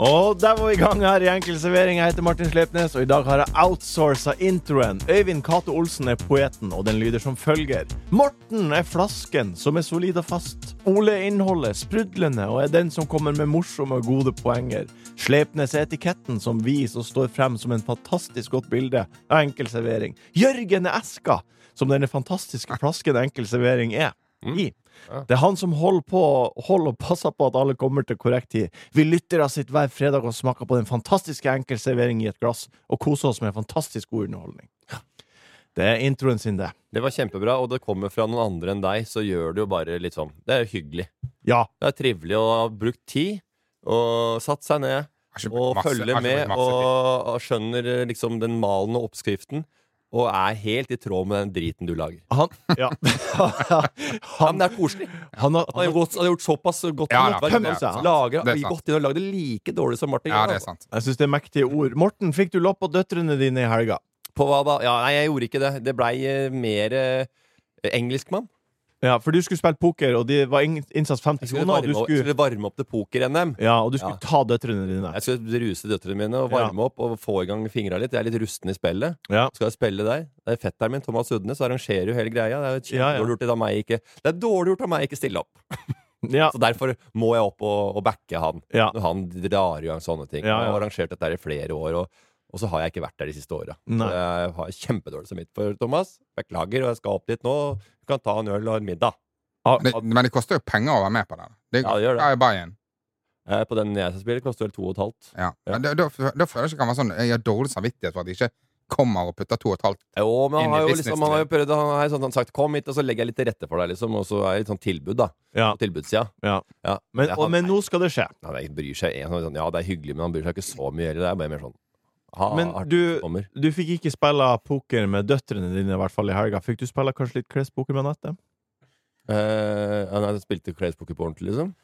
Og der var vi i gang her i Enkel servering. Jeg heter Martin Slepnes, og i dag har jeg outsourca introen. Øyvind Cato Olsen er poeten, og den lyder som følger. Morten er flasken som er solid og fast. Ole er innholdet, sprudlende, og er den som kommer med morsomme og gode poenger. Slepnes er etiketten som vis og står frem som en fantastisk godt bilde av enkel servering. Jørgen er eska, som denne fantastiske flasken enkel servering er. Mm. I. Det er han som holder på holder og passer på at alle kommer til korrekt tid. Vi lytter av sitt hver fredag og smaker på den fantastiske enkeltserveringen i et glass og koser oss med fantastisk god underholdning. Det er introen sin, det. Det var kjempebra, og det kommer fra noen andre enn deg, så gjør det jo bare litt sånn. Det er hyggelig. Ja. Det er trivelig å ha brukt tid, og satt seg ned, Har ikke brukt og masse- følge har ikke brukt med, masse og, og skjønner eh, liksom den malen og oppskriften, og er helt i tråd med den driten du lager. Han Ja. Ja, men Han, det er koselig. han, har- Han har gjort, han har gjort såpass godt. Ja, håndverk. ja, det er sant. Lager, Det er vi sant. gått inn og lagd det like dårlig som Martin. Ja, gjør, det er altså. sant. jeg syns det er mektige ord. Morten, fikk du lopp på døtrene dine i helga? På hva da? Ja, nei, jeg gjorde ikke det. Det blei eh, mer eh, engelskmann. Ja, for du skulle spille poker, og det var ingen- innsats 50 Jeg skulle kroner, og du varme, opp- skulle, skulle varme opp til poker-NM. ja, og du skulle Ja. ta døtrene dine. Jeg skal ruse døtrene mine og varme opp og få i gang fingra litt. Jeg er litt rusten i spillet. Ja. Skal jeg spille der? Det er fetteren min, Thomas Udne, som arrangerer jo hele greia. Det er, jo Ja, ja. kjempedårlig gjort av meg ikke, det er dårlig gjort av meg ikke stille opp. Ja. Så derfor må jeg opp og, og backe han. ja. Når han drar i gang sånne ting. Ja, Han ja. har arrangert dette her i flere år, og, og så har jeg ikke vært der de siste åra. Nei. Så jeg har kjempedårlig samvittighet for Thomas. Beklager, og jeg skal opp dit nå. Du kan ta en øl og en middag. Men, men det koster jo penger å være med på det. det Ja, det gjør det. Ja, jeg buy in. Eh, På den jeg skal spille, koster vel to og et halvt. Ja. Men Da, da, da føler jeg ikke det kan være sånn Jeg har dårlig samvittighet for at jeg ikke kommer og putter to og et halvt. Jo, men han Inn i har jo business, liksom, han har jo tror prøvd Han har jo sånn, han har sagt 'kom hit, og så legger jeg litt til rette for deg', liksom. Og så er det litt sånn tilbud, da. ja. På tilbudssida. ja. Ja. Men, Det- og, han, men nå skal det skje. han, han bryr seg en, sånn, Ja, det er hyggelig, men han bryr seg ikke så mye heller. Det er bare mer sånn ha, Men artig du- at kommer. Du fikk ikke spille poker med døtrene dine i hvert fall i helga. Fikk du spille kanskje litt klespoker med nettet? Eh, han har spilt i klespoker på ordentlig, liksom?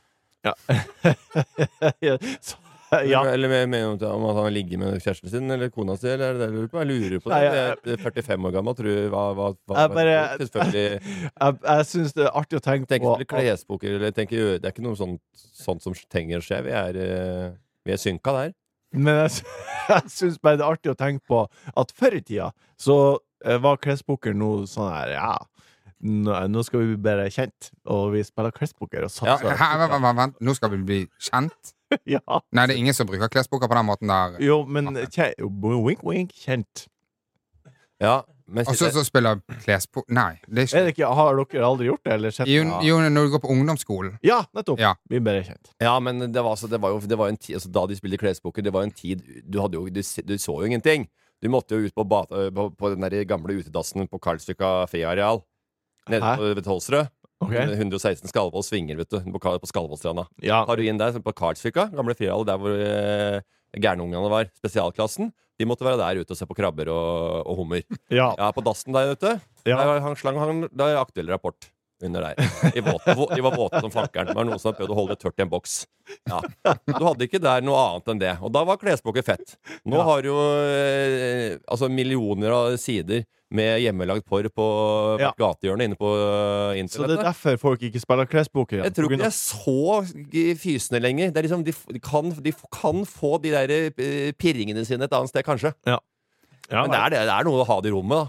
Så, Eh, ja. Eller- Eller med- med- om at han ligger med kjæresten sin eller kona si, eller er det det du lurer på? Jeg lurer på det. Nei, jeg- jeg er 45 år gammel, tror du hva, hva, hva Jeg bare- hva- Selvfølgelig. Jeg, jeg syns det er artig å tenke Tenker på. å spille klespoker, eller tenker, Det er ikke noe sånt, sånt som trenger å skje. Vi er, eh, vi er synka der. Men jeg, sy- jeg syns bare det er artig å tenke på at før i tida så eh, var klespoker noe sånn her Ja, nå, nå skal vi bli bedre kjent, og vi spiller klespoker og Ja, satser. Hæ, Vent, vent, vent, vent. Nå skal vi bli kjent? Ja. Nei, det er ingen som bruker klesboka på den måten der. Jo, men kje- wink, wink, kjent. Ja, men Og så så spiller klesbok Nei. Det Er er ikke det ikke, har dere aldri gjort det? Eller sett jo, det? jo, når du går på ungdomsskolen Ja, nettopp. Ja. Bli bedre kjent. Ja, men det var, altså, det var jo, det var jo en tid, altså, da de spilte klespoker, det var jo en tid Du, hadde jo, du, se- du så jo ingenting. Du måtte jo ut på, ba, øh, på, på den der gamle utedassen på Karlsvika friareal. Nede Hæ? på ved Tolsrød. Ok? 116 Skalvoll svinger, vet du. På, Kar- på Skalvollstranda. Ja. Har du inn der, på Karlsvika, gamle friareal, der hvor eh, gærnungene var, spesialklassen. De måtte være der ute og se på krabber og, og hummer. ja. Ja, på dassen der ute. Ja. Der hang slang, hang, der er aktuell rapport under der. I våt, vå- de var våte som fakkelen. Det var noen som hadde prøvd å holde det tørt i en boks. Ja. Du hadde ikke der noe annet enn det. Og da var klesboka fett. Nå Ja. har jo eh, altså millioner av sider med hjemmelagd porr på Ja. gatehjørnet inne på Så eh, det er internettet. derfor folk ikke spiller klespoker? Jeg tror ikke de er så g- fysende lenger. Det er liksom, de, f- de, kan, de f- kan få de der eh, pirringene sine et annet sted, kanskje. ja, Men det er, det, det er noe å ha det i rommet, da.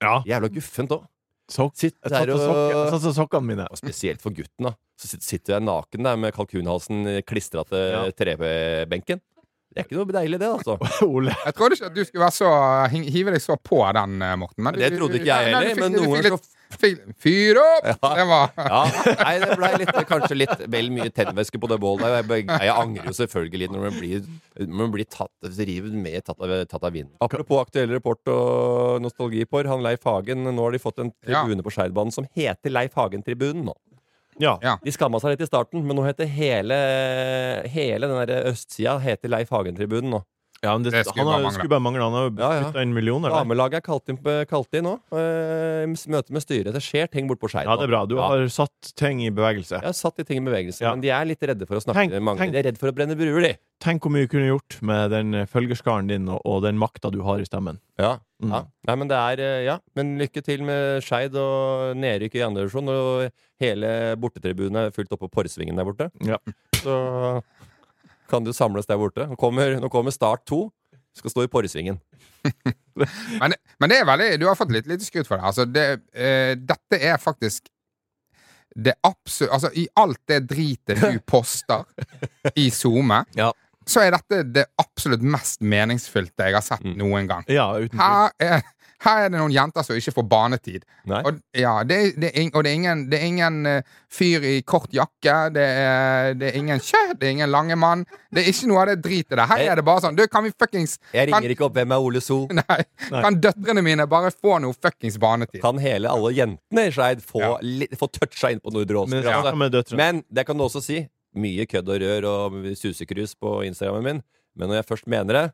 ja. Jævla guffent òg. Sokk. Sitt Jeg der satte sokker- og satte sokkene mine. Og spesielt for gutten, da. Så sit- sitter jeg naken der med kalkunhalsen klistra til Ja. trebenken. Det er ikke noe deilig, det, altså. Ole. Jeg trodde ikke at du skulle være så hing- hive deg så på den, eh, Morten. Men Det trodde ikke jeg Nei, nei, du heller, men fikk- du noen fikk ganger litt- fikk- Fyr opp! Ja. Det var Ja, nei, det ble litt, kanskje litt vel mye tennvæske på det bålet. der, og Jeg, be- nei, jeg angrer jo selvfølgelig litt når man blir, når man blir tatt, rivet med tatt av, tatt av vinden. Apropos aktuell rapport og nostalgipor. Han Leif Hagen, nå har de fått en Ja. tribune på Skeidbanen som heter Leif Hagen-tribunen nå. Ja. Ja. De skamma seg litt i starten, men nå heter hele, hele den der østsida heter Leif Hagen-tribunen nå. Ja, men det, Det skulle han har, bare mangle. skulle bare mangle. Han har jo Ja, ja. putta inn millioner. Der. Damelaget er kalt inn, på- kalt inn nå. Eh, møte med styret. Det skjer ting bort på Skeid. Ja, det er bra. Du Ja. har satt ting i bevegelse. Jeg har satt de ting i bevegelse, Ja. men de er litt redde for å snakke Tenk- med mange. tenk- De er redde for å brenne bruer, de. Tenk hvor mye du kunne gjort med den eh, følgerskaren din og, og den makta du har i stemmen. Ja. Mm. Ja. Nei, men det er eh, Ja. Men lykke til med Skeid og nedrykk i andre divisjon. Og hele bortetribunen er fylt opp på Porsvingen der borte. Ja. Så kan du samles der borte. Nå kommer, nå kommer Start 2. Skal stå i Porsvingen. Men, men det er veldig, du har fått litt, litt skryt for det. Altså, det eh, dette er faktisk det absolutt Altså, i alt det dritet du poster i SoMe, Ja. så er dette det absolutt mest meningsfylte jeg har sett Mm. noen gang. Ja, uten tvil. Her er, her er det noen jenter som ikke får banetid. Nei. Og, ja, det, er- det, er ing- og det er ingen, det er ingen eh, fyr i kort jakke, det er, det er ingen kjø, det er ingen lange mann. Det er ikke noe av det dritet der. Her er det bare sånn Du, kan vi fuckings Jeg kan- ringer ikke opp 'Hvem er Ole So?' Nei. Nei. Kan døtrene mine bare få noe fuckings banetid? Kan hele alle jentene i Skeid få, Ja. li- få toucha inn på Nordre Åser? Men snakk altså? med døtrene. Men det kan du også si. Mye kødd og rør og susekrus på Instagrammen min. Men når jeg først mener det,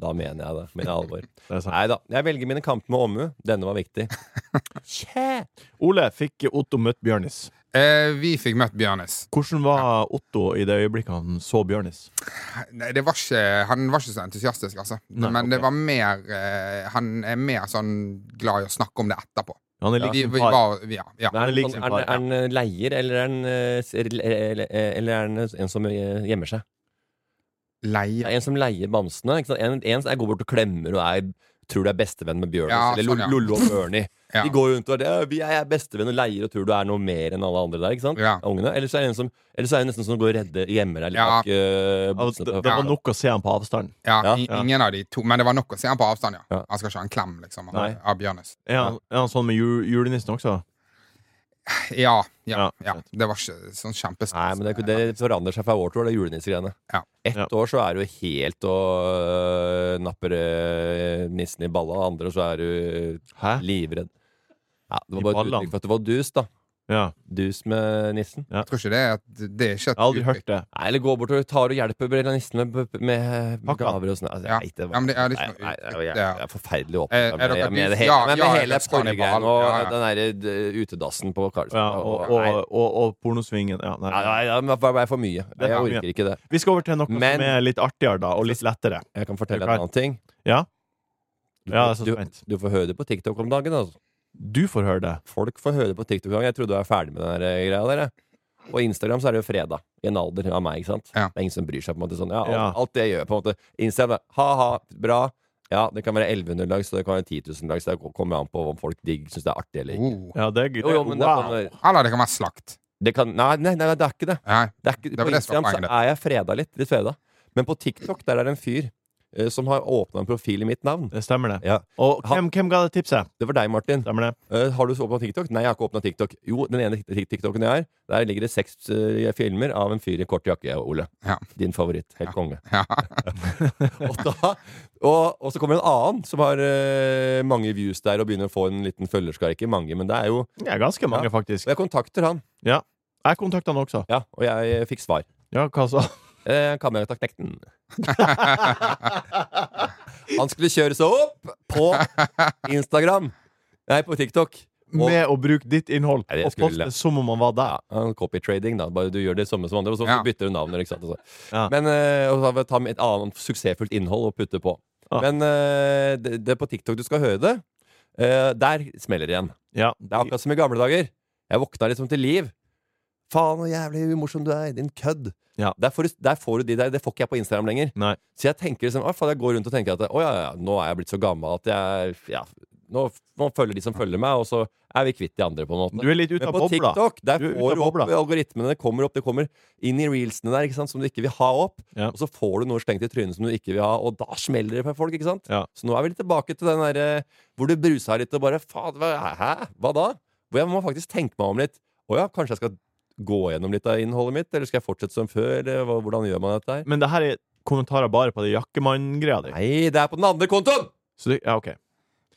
da mener jeg det. Mener jeg alvor. Det er sant. Nei da. Jeg velger mine kamper med omhu. Denne var viktig. Tje! Ole, fikk Otto møtt Bjørnis? Eh, vi fikk møtt Bjørnis. Hvordan var Otto i det øyeblikket han så Bjørnis? Nei, det var ikke, han var ikke så entusiastisk, altså. Nei, Men det ok. var mer eh, Han er mer sånn glad i å snakke om det etterpå. Han er liksom lik Vi, sin vi far. var, ja, ja. Han er lik sin Altså, Er far. han er han leier, eller er han, eh, s- eller- eller- eller er han en som eh, gjemmer seg? Ja, Leie. en som leier bamsene. Ikke sant? En, en som er- går bort og klemmer og er, tror du er bestevenn med Bjørnis Ja, eller sånn, ja. Lollo og Bernie. Ja. De går rundt og er det, «Ja, vi er bestevenn og leier og tror du er noe mer enn alle andre der. ikke sant? Ja. Av Ungene. Eller så er det en som Eller så er det nesten som går og redder gjemmer deg litt Ja. bak eh, Ja, bamsene. det, på- det var nok å se ham på avstand. Ja, Ja, i- ja. Ingen av de to. Men det var nok å se han på avstand, ja. Ja. Han skal ikke ha en klem, liksom, av, Nei. av Bjørnis. Er han, er han sånn med ju- julenissen også? Ja, ja, Ja, ja. sant. Det var ikke sånn kjempestort. Nei, men det, det forandrer seg fra år til år, det julenissegreiene. Ja. Ett Ja. år så er du helt og øh, napper øh, nissen i balla, andre år så er du Hæ? livredd. Ja, I det var bare et ballene? uttrykk for at det var dus, da. Ja. Dus med nissen. Jeg tror ikke det er, et- det er ikke Jeg har aldri et hørt det. Nei, eller gå bort og tar og hjelper brilla nissen med, med Pakka. gaver og sånn. Altså, Ja. nei, det var- Ja, men det er liksom- nei, nei, det var- det er- det er forferdelig åpent. Er- er med, dere med, det dus? hele, Ja, men med ja, hele jeg skal i porregreien ball. og Ja, ja. den derre øh, utedassen på Karlsen. Ja, og, og, nei, og, og pornosvingen. Ja, nei, nei. nei, nei, men det er for mye. er Jeg for mye. orker ikke det. Vi skal over til noe Men- som er litt artigere da, og litt lettere. Jeg kan fortelle Er deg du en annen ting. Ja? Du, Ja, jeg er så du, spent. du får høre det på TikTok om dagen. Altså. Du får høre det. Folk får høre det på TikTok. Jeg trodde jeg var ferdig med den der eh, greia der. jeg. På Instagram så er det jo fredag, i en alder av meg. ikke sant? Ja. Det er ingen som bryr seg. på en måte sånn. ja, alt, Ja. alt det jeg gjør, på en måte. Instagram er ha-ha, bra. Ja, det kan være 1100 likes, og det kan være 10 000 likes. Det kommer an på om folk digg syns det er artig eller ikke. Oh. Ja, det er gøy. Jo, jo, men det, Wow. kan, Eller det kan være slakt. det kan Nei, nei, nei, det er ikke det. Nei. Det er ikke, var på det Instagram som var så poenget. er jeg freda litt. litt freda. Men på TikTok der er det en fyr eh, som har åpna en profil i mitt navn. Det stemmer, det. Ja. Og Han- hvem, hvem ga det tipset? Det var deg, Martin. Stemmer det? Eh, har du åpna TikTok? Nei, jeg har ikke åpna TikTok. Jo, den ene tik- TikToken jeg har, der ligger det seks eh, filmer av en fyr i kort jakke, Ole. Ja. Din favoritt. Helt konge. Ja. Og, da, og, og så kommer en annen som har eh, mange views der og begynner å få en liten følgerskare. Ikke mange, men det er jo Og Ja, ganske mange, faktisk. jeg kontakter han, Ja. Jeg kontakta han også. ja, og jeg eh, fikk svar. Ja, hva sa Eh, Kamerataknekten. han skulle kjøre seg opp på Instagram. Nei, på Tiktok. Og- Med å bruke ditt innhold Nei, det og skulle- poste som om han var der. Ja, copy-trading, da. Bare du gjør det samme som andre, og så Ja. bytter du navnet. Ikke sant? Og så. Ja. Men eh, og så ta med et annet suksessfullt innhold og putte på. Ja. Men eh, det, det er på TikTok du skal høre det. Eh, der smeller det igjen. Ja. Det er akkurat som i gamle dager. Jeg våkna liksom til liv. Faen, så jævlig umorsom du er, din kødd. Ja. Der, får du, der får du de der. Det får ikke jeg på Instagram lenger. Nei. Så jeg tenker liksom, «Å, faen, jeg går rundt og tenker at å, ja, ja, nå er jeg blitt så gammel at jeg ja, nå, nå følger de som følger meg, og så er vi kvitt de andre, på en måte. Du er litt ute Men av på bobla. TikTok der Du er ute får av du opp bobla. algoritmene. Det kommer opp, det kommer inn i reelsene der ikke sant, som du ikke vil ha opp. Ja. Og så får du noe slengt i trynet som du ikke vil ha, og da smeller det for folk. ikke sant? Ja. Så nå er vi litt tilbake til den derre hvor du brusa litt og bare faen, hva, hæ? Hva da? Hvor jeg må faktisk tenke meg om litt. Å ja, kanskje jeg skal gå gjennom litt av innholdet mitt, eller skal jeg fortsette som før? Eller hva- Hvordan gjør man dette her? Men det her er kommentarer bare på det jakkemann-greia di. Nei, det er på den andre kontoen! Så det, ja, ok.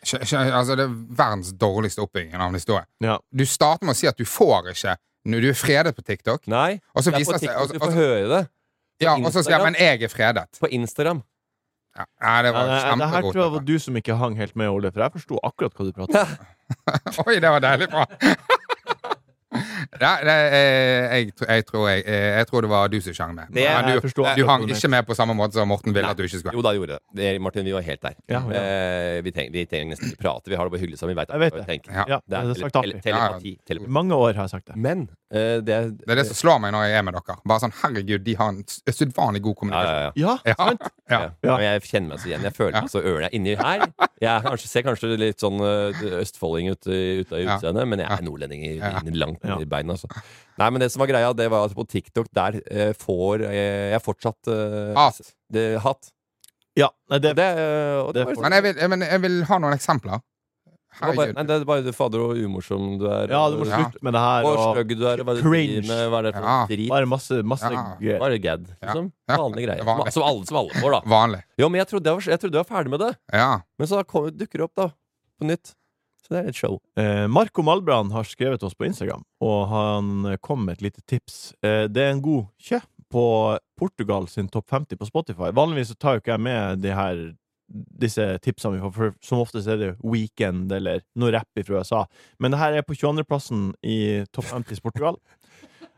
Kjø- kjø- Altså, det er verdens dårligste oppbygging av en historie. Ja. Du starter med å si at du får ikke når Du er fredet på TikTok, Nei, og så det er viser på det seg TikTok og, du og, får høre det. ja, og så sier jeg, men jeg er fredet. På Instagram. Ja, nei, Nei, det var nei, Eh, det her kjempegodt. tror jeg var dette. du som ikke hang helt med, Ole, for jeg forsto akkurat hva du pratet om. Oi, det var deilig bra! Nei, det, eh, jeg, tr- jeg, tror jeg, eh, jeg tror det var du som sang med. Det- Men jeg du, forstår du hang akkurat ikke med på samme måte som Morten ville at du ikke skulle. Jo da, jeg gjorde det. det. Martin, vi var helt der. Ja, ja. Eh, vi, trenger, vi trenger nesten ikke prate. Vi har det bare hyggelig sammen. Vi vet Jeg vet hva vi det. tenker. Ja. Ja, Det er, det er tele sagt artig. Mm. tele telepati. Ja, I telepati. mange år har jeg sagt det. Men eh, det er Det er det som slår meg når jeg er med dere. Bare sånn, herregud, De har en s- usedvanlig god ja, ja, kommunikasjon. ja. Ja, Ja, sant? ja. Ja. men Jeg kjenner meg så igjen. Jeg føler meg så ørlig inni her. Jeg er kanskje, ser kanskje litt sånn eh, østfolding ut, i- ut av Ja. utseendet, men jeg Ja. er nordlending i, Ja. i- langt Ja. i beina. Altså. Nei, men det som var greia, det var at på TikTok der eh, får eh, jeg fortsatt eh, Hat. Det, hatt. Ja, nei, det, Det, eh, og det, Det var- Men jeg vil, jeg, men jeg vil ha noen eksempler. det var bare, Herregud. nei, det er bare fader og umorsom du er. ja, du må og- Ja. slutte med det her. Hvor Og stygg du er, og hva er det du Cringe. driver med, hva er det for noe Ja. drit? bare masse, masse Ja. gøy. Bare gad, liksom. Ja. Vanlige Det greier. er Som, vanlig. som alle, som alle får, da. Vanlig. Jo, men jeg trodde jeg var, jeg trodde jeg var ferdig med det. Ja. Men så kom, dukker det opp, da. På nytt. Så det er litt show. Eh, Marco Malbrand har skrevet oss på Instagram, og han eh, kom med et lite tips. Eh, det er en god kjø på Portugal sin topp 50 på Spotify. Vanligvis så tar jo ikke jeg med de her, disse tipsene vi får, for som oftest er det Weekend eller noe rapp fra USA. Men det her er på 22.-plassen i topp 50 Portugal.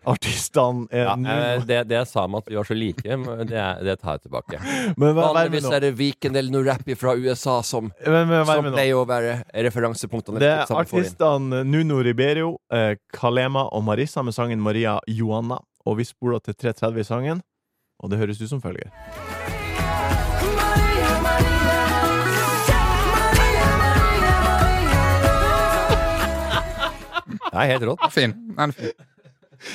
Artistene er Ja, nå eh, det, det jeg sa om at vi var så like, men det, er- det tar jeg tilbake. Men vær, vær med Vanligvis nå. er det Viken eller noe rap fra USA som, Men, men, vær som med nå. pleier å være referansepunktene. Det som er får inn. artistene Nuno Riberio, eh, Kalema og Marissa med sangen Maria Joanna. Og vi spoler til 3.30 i sangen, og det høres ut som følger. Det er helt rått. Fin. Den er fin.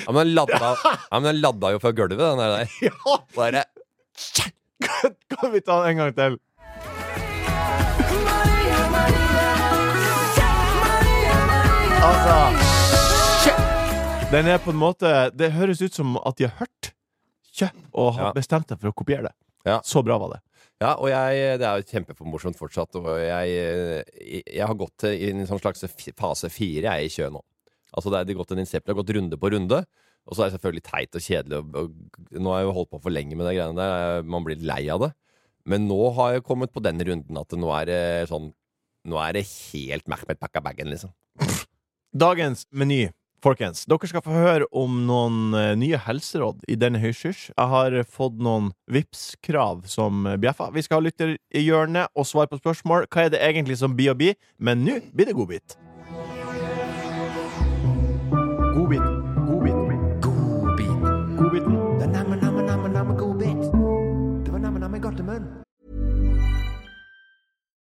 Ja, men den ladda, ja, men den ladda jo fra gulvet, den der. der. Bare Kan vi ta den en gang til? Altså shit. Den er på en måte Det høres ut som at de har hørt Kjøp og har Ja. bestemt seg for å kopiere det. Ja. Så bra var det. Ja, og jeg, det er jo kjempeformorsomt fortsatt. Og jeg, eh, jeg har gått til- inn i en sånn slags fi- fase fire jeg er i kjø nå. Altså det er det har gått en insept, det har gått runde på runde. Og så er det selvfølgelig teit og kjedelig. Og, og, nå har jeg jo holdt på for lenge med de greiene der. Man blir lei av det. Men nå har jeg kommet på den runden at nå er det sånn Nå er det helt Mehmet pakka bagen, liksom. Dagens meny, folkens. Dere skal få høre om noen eh, nye helseråd i denne høyskyrs. Jeg har eh, fått noen Vipps-krav som eh, bjeffer. Vi skal ha lytter i hjørnet og svar på spørsmål. Hva er det egentlig som blir å bli? Men nå blir det godbit. Godbit. Godbit. Godbit. Godbiten. Det er namme, namme, namme, namme godbit. Det var namme, namme godt i munnen.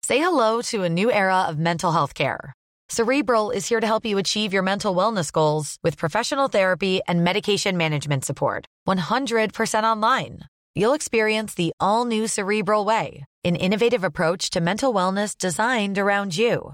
Say hello to a new era of mental health care. Cerebral is here to help you achieve your mental wellness goals with professional therapy and medication management support. 100% online. You'll experience the all new Cerebral Way, an innovative approach to mental wellness designed around you.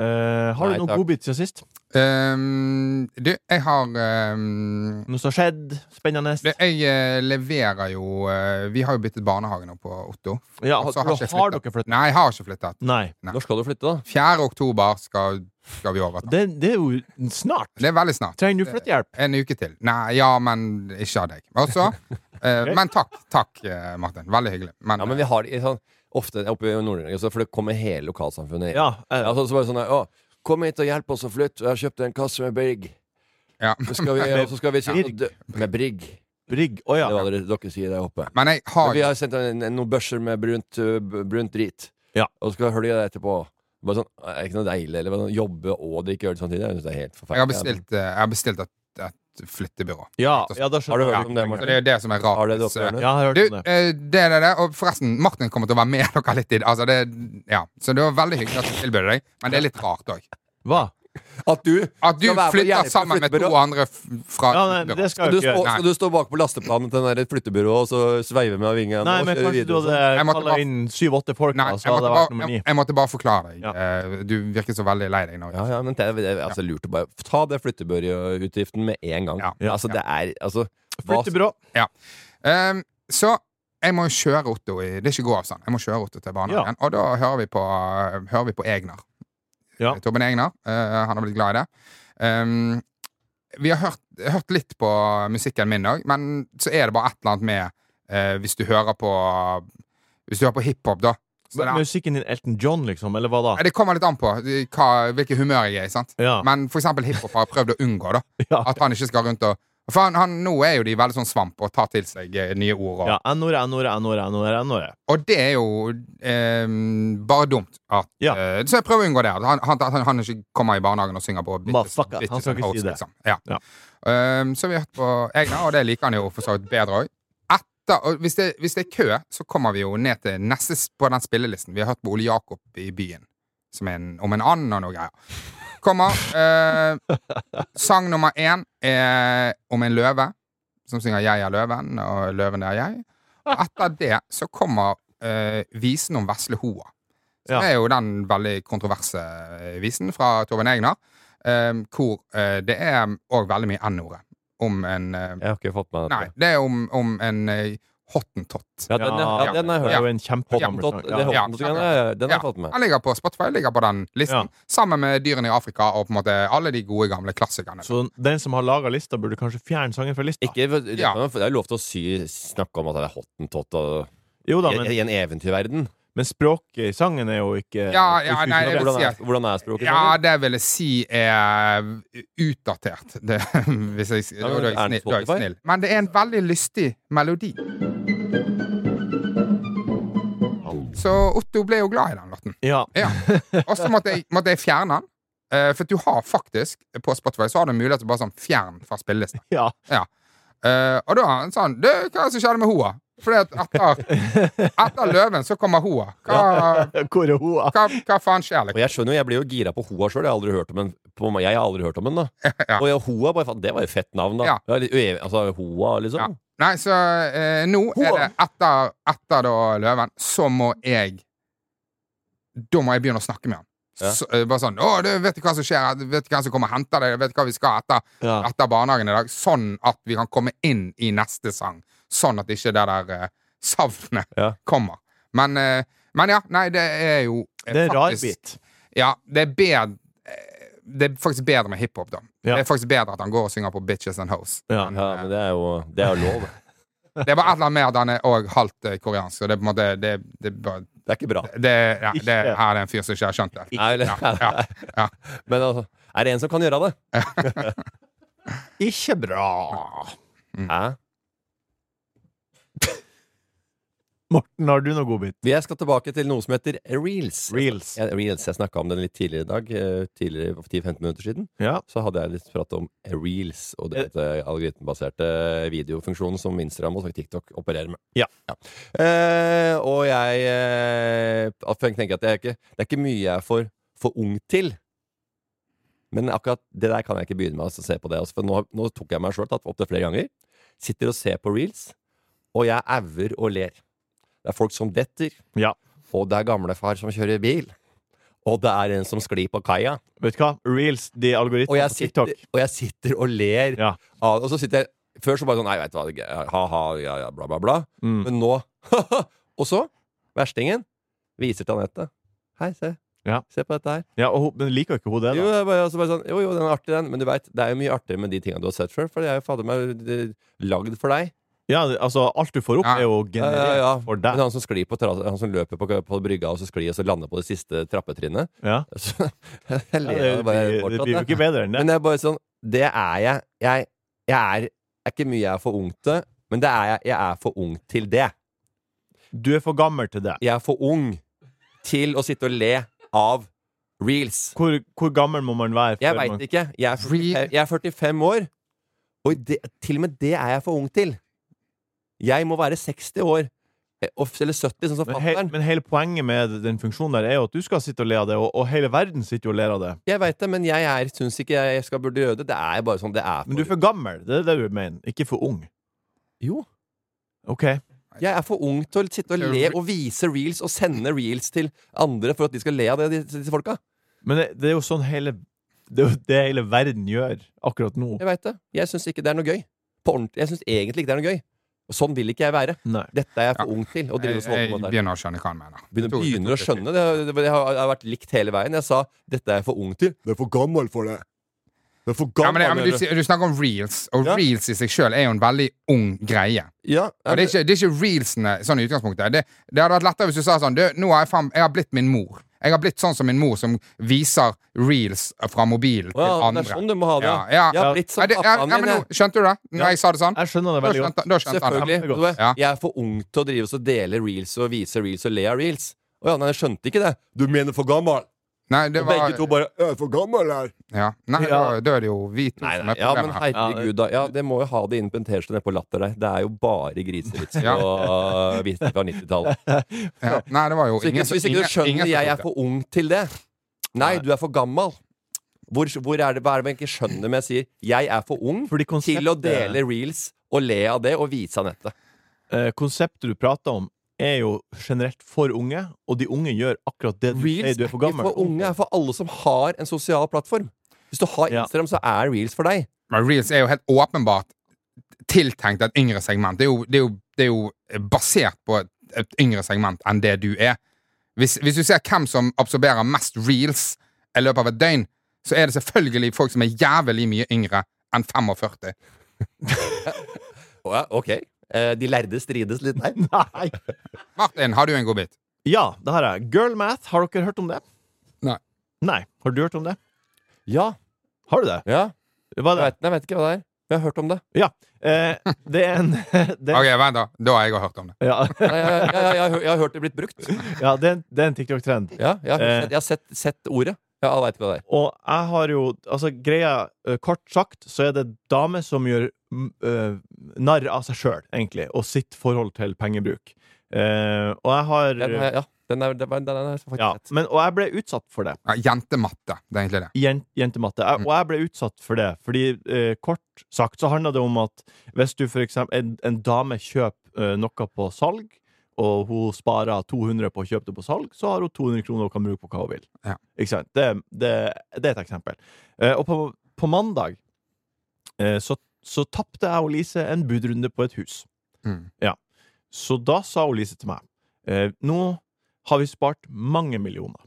Eh, har Nei, du noen takk. godbit siden sist? Ehm, du, jeg har ehm, Noe som har skjedd? Spennende? du, Jeg eh, leverer jo eh, Vi har jo byttet barnehage nå på Otto. Ja, Og har, så ikke jeg har flyttet. dere flyttet? Nei, jeg har ikke flyttet. Nei. Når skal du flytte, da? 4. oktober skal, skal vi overta. Det, det er jo snart. Det er veldig snart. Trenger du flyttehjelp? En uke til. Nei, ja, men ikke av deg. Og så eh, Men takk, takk, eh, Martin. Veldig hyggelig. Men, Ja, men vi har det i sånn Ofte oppe i Nord-Norge, så- for det kommer hele lokalsamfunnet. Ja. eh, Ja, så, så bare sånn der, å, Kom hit og hjelp oss å flytte. Jeg har kjøpt en kasse med berg. ja. Så skal vi, og så skal vi sitte og dø Med brigg. Brygg. Å Det ja. var det dere sier der oppe. men jeg Men har vi har sendt en, en, noen børser med brunt, uh, b- brunt drit. Ja. Og så skal vi hølje det etterpå. Bare sånn, er ikke noe deilig eller bare sånn, Jobbe og drikke øl samtidig. Jeg synes det er helt Jeg har forferdelig. bestilt, eh, jeg har bestilt et, et flyttebyrå. Ja, ja, da Har du skjønner hørt jeg. om det, Så Morten? det er jo det som er eh, rart. Har du det oppe i Så- hjørnet? Ja, jeg har Du, hørt om det. eh, det er det, det. Og forresten, Martin kommer til å være med dere litt i altså det. Ja, så det var veldig hyggelig at du tilbød deg, men det er litt rart òg. Hva? At du At du Skal være på flytter Gjerpen sammen med to flyttebyrå. andre f- fra Ja, nei, det skal Skal du, jeg jo ikke stå, gjøre. skal du stå bak på lasteplanen til den der flyttebyrået og så sveive med vingene? Nei, og men kjøre kanskje du videre og sånn? hadde Jeg måtte kalla bare- inn syv-åtte folk, Nei, da, jeg så hadde måtte, jeg vært bare, nummer ni. jeg, jeg måtte bare forklare deg. Ja. Eh, Du virker så veldig lei deg nå. sånn? Ja, ja, men det, det, altså, lurte bare Ta det flyttebyrøutgiften med en gang. Ja. Altså, det er altså hva- Flyttebyrå. Ehm, så jeg må jo kjøre Otto i Det er ikke god avstand. Jeg må kjøre Otto til barnehagen. Og da hører vi på, hører vi på Egnar. Ja. Torben Egnar. eh, han har blitt glad i det. Ehm, vi har hørt, hørt litt på musikken min òg, men så er det bare et eller annet med eh, Hvis du hører på Hvis du hører på hiphop, da. Så det, Musikken din Elton John, liksom, eller hva da? Nei, det kommer litt an på eh, hva, hvilket humør jeg er i. sant? Ja. Men for eksempel hiphop har jeg prøvd å unngå. da Ja. At han ikke skal rundt og For han, han, nå er jo de veldig sånn svamp og tar til seg eh, nye ord. Og, Ja, N-ordet, N-ordet, N-ordet, N-ordet, N-ordet. og det er jo ehm, bare dumt. At, Ja. eh, så jeg prøver å unngå det. At han, han, at han, han ikke kommer i barnehagen og synger på Bitches- Motherfucker, Bitches han skal and ikke si Hoes, det. liksom. Ja. Ja. Ehm, så vi har hørt på Egner, og det liker han jo for så vidt bedre òg. Hvis, det- hvis det er kø, så kommer vi jo ned til neste s- på den spillelisten. Vi har hørt på Ole Jakob i Byen, som er en, om en and og noe greier. Kommer. eh, sang nummer én er om en løve, som synger 'Jeg er løven', og 'Løven er jeg'. Og etter det så kommer eh, visen om vesle hoa. Som Ja. er jo den veldig kontroverse eh, visen fra Torben Egner. eh, hvor eh, det er òg veldig mye N-ordet. Om en eh, Jeg har ikke fått med Nei, dette. det er om, om en eh, hottentott. Ja, den, ja, ja, den har Det jeg hørt. er jo en kjempegammel Hottentott, sang. det Ja. Ja. Hottentott-greiene, ja, den har jeg fått med. Han ligger på Spotify, ligger på den listen. Sammen med Dyrene i Afrika og på en måte alle de gode, gamle klassikerne. Så den som har laga lista, burde kanskje fjerne sangen fra lista. Ikke, det Ja. det er lov til å sy, snakke om at det er hottentott og, Jo da, i, men, i en eventyrverden. men språket i sangen er jo ikke Ja, ja, nei, jeg vil Hvordan si er, at hvordan er språket? Ja, Sander? det vil jeg si er eh, utdatert. Det, hvis jeg, da, da, er Er det jeg snill, da er jeg Spotify? snill. Men det er en veldig lystig melodi. Så Otto ble jo glad i den låten. Ja. Ja. Og så måtte, jeg- måtte jeg fjerne den. Eh, for du har faktisk på Spotify så har du mulighet til bare sånn fjern fra spillelisten. ja. Ja. Eh, og da har han sånn Du, hva er det som skjedde med hoa? Fordi at etter, etter løven så kommer hoa. Hva, Hvor er hoa? hva, hva faen skjer, liksom? Og jeg skjønner jo, jeg blir jo gira på Hoa sjøl. Jeg har aldri hørt om en. På, meg- jeg har aldri hørt om en da. Og jeg, Hoa, bare, faen, det var jo fett navn, da. Ja. Det er litt uev- Altså Hoa, Ja. liksom. Nei, så eh, nå er det etter, etter da løven, så må jeg Da må jeg begynne å snakke med han. Ja. Så, eh, bare sånn 'Å, du, vet du hva som skjer? Du Vet du hvem som kommer og henter deg? Vet du hva vi skal etter, Ja. etter barnehagen i dag?' Sånn at vi kan komme inn i neste sang. Sånn at ikke det der eh, savnet Ja. kommer. Men, eh, men ja, nei, det er jo eh, Det er rar faktisk- bit. ja, det er bedre Det er faktisk bedre med hiphop, da. Ja. Det er faktisk bedre at han går og synger på 'Bitches and Hoes'. Ja. Ja, men det er jo Det er jo lov. Det er bare et eller annet med at han er òg halvt eh, koreansk. Så det er på en måte Det, det, er bare- Det er ikke bra. det, ja, det Ikke. her er det en fyr som ikke har skjønt det. Nei, eller- ja, ja. Men altså, er det en som kan gjøre det? Ikke bra. Mm. Hæ? Morten, har du noe godbit? Jeg skal tilbake til noe som heter reels. Reels. Jeg, reels, jeg snakka om den litt tidligere i dag. eh, Tidligere, for 10-15 minutter siden. Ja. Eh. Så hadde jeg litt prat om reels og den algoritmebaserte videofunksjonen som Instagram og TikTok opererer med. Ja. Eh, og jeg eh, at jeg tenker at det er, ikke, det er ikke mye jeg er for, for ung til. Men akkurat det der kan jeg ikke begynne med. Altså, se på det, altså, for nå, nå tok jeg meg sjøl tatt opp det flere ganger. Sitter og ser på reels, og jeg auer og ler. Det er folk som detter, Ja. og det er gamlefar som kjører bil. Og det er en som sklir på kaia. Vet du hva? Reels, de Og algoritmene jeg på sitter TikTok. og, jeg sitter og ler. Ja. av- og så sitter jeg Før så bare sånn Nei, veit du hva, det er gøy, ha-ha, ja, ja, bla, bla, bla. Mm. Men nå Og så, verstingen viser til Anette. Hei, se. Ja. Se på dette her. Ja, og, hun- men liker ikke hun det, Jo, da? jeg bare, altså bare sånn, jo, jo, den er artig, den. Men du veit, det er jo mye artigere med de tinga du har sett før. For jeg er jo fader meg det- lagd for deg. Ja, altså, alt du får opp, Ja. er jo Ja, ja, ja. generert for Men deg. han som sklir på terrassen- han som løper på, på brygga og så sklir og så lander på det siste trappetrinnet Ja. Så jeg Ja, ler det, av det bare blir, det fortsatt, blir jo jeg. ikke bedre enn det. Men det er bare sånn Det er jeg. Jeg, jeg er, er ikke mye jeg er for ung til, men det er jeg. Jeg er for ung til det. Du er for gammel til det. Jeg er for ung til å sitte og le av reels. Hvor, hvor gammel må man være? før Jeg man- veit ikke. Jeg er, 45, Reel- jeg er 45 år, Og det, til og med det er jeg for ung til. Jeg må være 60 år. eh, og- Eller 70, sånn som Men, he, fatter'n. men hele poenget med den funksjonen der er jo at du skal sitte og le av det, og, og hele verden sitter jo og ler av det. Jeg veit det, men jeg syns ikke jeg skal burde gjøre det. Det er bare sånn det er. Men du er for gammel, det er det du mener. Ikke for ung. Jo. OK. Jeg er for ung til å sitte og le og vise reels og sende reels til andre for at de skal le av det, disse- disse folka. Men det, det er jo sånn hele Det er jo det hele verden gjør akkurat nå. Jeg veit det. Jeg syns ikke det er noe gøy. På ordentlig. Jeg syns egentlig ikke det er noe gøy. Og sånn vil ikke jeg være. Nei. Dette er jeg for Ja. ung til. Å drive Jeg, sånn på jeg en måte her. begynner å skjønne hva han mener. Begynner, Jeg tror- begynner å jeg tror- skjønne. Det, har- det har, det har vært likt hele veien. Jeg sa 'dette er jeg for ung til'. Det er for gammel for det. Det er for Ja, men, det, ja, men du, er det. sier- du snakker om reels, og Ja. reels i seg sjøl er jo en veldig ung greie. Ja, Og det er ikke, det er ikke reelsene sånn i utgangspunktet. Det, det hadde vært lettere hvis du sa sånn du, Nå har jeg, faen- jeg har blitt min mor. Jeg har blitt sånn som min mor, som viser reels fra mobilen Å ja, til det andre. er sånn du må ha det. Ja, ja. Jeg har blitt Nei, som det, ja, ja, pappaen men min. nå, jeg. skjønte du det? Når Ja. jeg sa det sånn? Jeg skjønner det Da veldig godt. skjønte, da skjønte han Selvfølgelig. det. Kjempegodt. Du, Ja. Jeg er for ung til å drive og så dele reels og vise reels og le av reels. Å ja, nei, jeg skjønte ikke det. Du mener for gammel. Nei, det Og var, begge to bare 'Jeg er for gammel her'. ja. nei da, Ja. da er det jo vi to Nei, som nei, er ja, men problemet her. herregud, da. Ja, det må jo ha det inn på en T-skjorte nede på Latter der. Det er jo bare grisevitser Ja. og uh, vitser fra 90-tallet. Ja. Nei, det var jo Så ikke, ingen hvis ikke du skjønner jeg er for ung til det Nei, du er for gammel. Hvor, hvor er det, hva er det man ikke skjønner med jeg sier 'jeg er for ung Fordi konseptet- til å dele reels' og le av det og vise av nettet? Eh, konseptet du prater om, er jo generelt for unge, og de unge gjør akkurat det du sier Reels du er er for ikke gammel. for unge, er for alle som har en sosial plattform. Hvis du har Ja. Instagram, så er reels for deg. Men reels er jo helt åpenbart tiltenkt et yngre segment. Det er jo, det er jo, det er jo basert på et, et yngre segment enn det du er. Hvis, hvis du ser hvem som absorberer mest reels i løpet av et døgn, så er det selvfølgelig folk som er jævlig mye yngre enn 45. Å ja, ok. Eh, de lærde strides litt der. Nei. Martin, har du en godbit? Ja, det har jeg. Girl math, har dere hørt om det? Nei. Nei. Har du hørt om det? Ja. Har du det? ja. Hva er Jeg det? vet, jeg vet ikke hva det er. Jeg har hørt om det. Ja. Eh, det er en det, Ok, vent da. Da har jeg også hørt om det. ja, Jeg, jeg, jeg, jeg, jeg, har hø- jeg har hørt det blirt brukt. ja, det er en, det er en TikTok-trend. Ja, jeg har, Eh. sett, jeg har sett, sett ordet. Ja, Jeg veit ikke hva det er. Og jeg har jo Altså, greia eh, Kort sagt så er det damer som gjør mm, eh, narr av seg sjøl, egentlig, og sitt forhold til pengebruk. Eh, og jeg har Den, har jeg- ja, den er, den er, den er faktisk ja, sett. men, Og jeg ble utsatt for det. Ja, jentematte, det er egentlig det. Jen- jentematte. Mm. Jeg, og jeg ble utsatt for det, fordi eh, kort sagt så handler det om at hvis du for eksempel en, en dame kjøper eh, noe på salg, og hun sparer 200 på å kjøpe det på salg, så har hun 200 kroner hun kan bruke på hva hun vil. Ja. Ikke sant? Det, det, det er et eksempel. Eh, og på, på mandag eh, så, så tapte jeg og Lise en budrunde på et hus. Mm. Så da sa hun Lise til meg eh, Nå har vi spart mange millioner.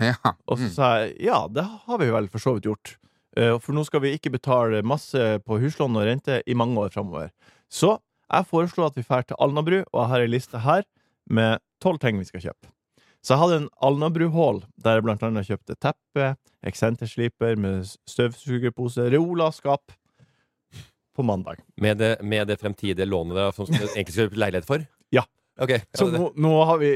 Ja. Og så Mm. sa jeg ja, det har vi vel for så vidt gjort. Eh, For nå skal vi ikke betale masse på huslån og rente i mange år framover. Så jeg foreslo at vi drar til Alnabru, og jeg har ei liste her med tolv ting vi skal kjøpe. Så jeg hadde en Alnabru-hall der jeg blant annet kjøpte teppe, eksentersliper med støvsugerpose, reolaskap på mandag. Med, det, med det fremtidige lånet dere som dere egentlig skulle kjøpe leilighet for? Ja. Ok, ja, Så det, nå, nå har vi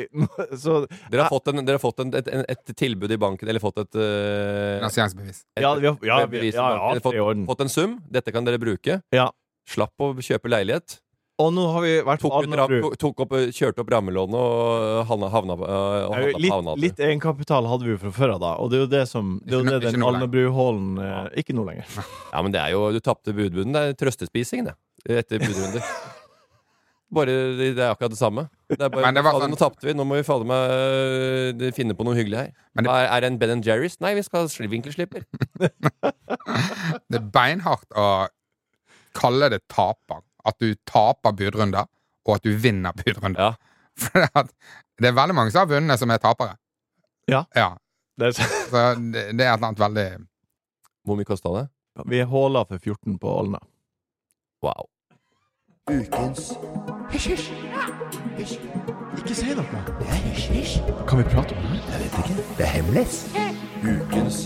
Så dere har fått, en, dere har fått en, et, en, et tilbud i banken, eller fått et, eh, Finansieringsbevis. et Ja, vi har, ja, vi, bevis i ja, ja, banken. Eller alt er i orden. fått, fått en sum. Dette kan dere bruke. Ja. Slapp å kjøpe leilighet. Og nå har vi vært på Tok ut, ram- Alnabru. tok- tok opp, kjørte opp rammelånet og havna, havna, eh, og Ja, havna, jo, havna, litt, litt egenkapital hadde vi jo fra før av, da. Og det er jo det som det er Ikke jo nå- det den ikke nå lenger. Alnabruhallen eh, Ikke nå lenger. Ja, men det er jo Du tapte budrunden. Det er trøstespising, det. Etter budrunder. Bare, Det det er akkurat det samme. Det er bare, Men det var fader, sånn- Nå tapte vi, nå må vi fader meg øh, finne på noe hyggelig her. Men det- Hva er, er det en Ben Jerry's? Nei, vi skal ha sli- vinkelsliper. Det er beinhardt å kalle det taper. At du taper budrunder, og at du vinner budrunder. Ja. For at det er veldig mange som har vunnet, som er tapere. Ja. ja. Det er, så- Så det, det er et eller annet veldig Hvor mye kosta det? vi er håla for 14 på Alna. Wow. Ukens Hysj, hysj. Hysj. Ikke si noe. Det er hysj, hysj. Kan vi prate om det? Jeg vet ikke. Det er hemmelig. Ukens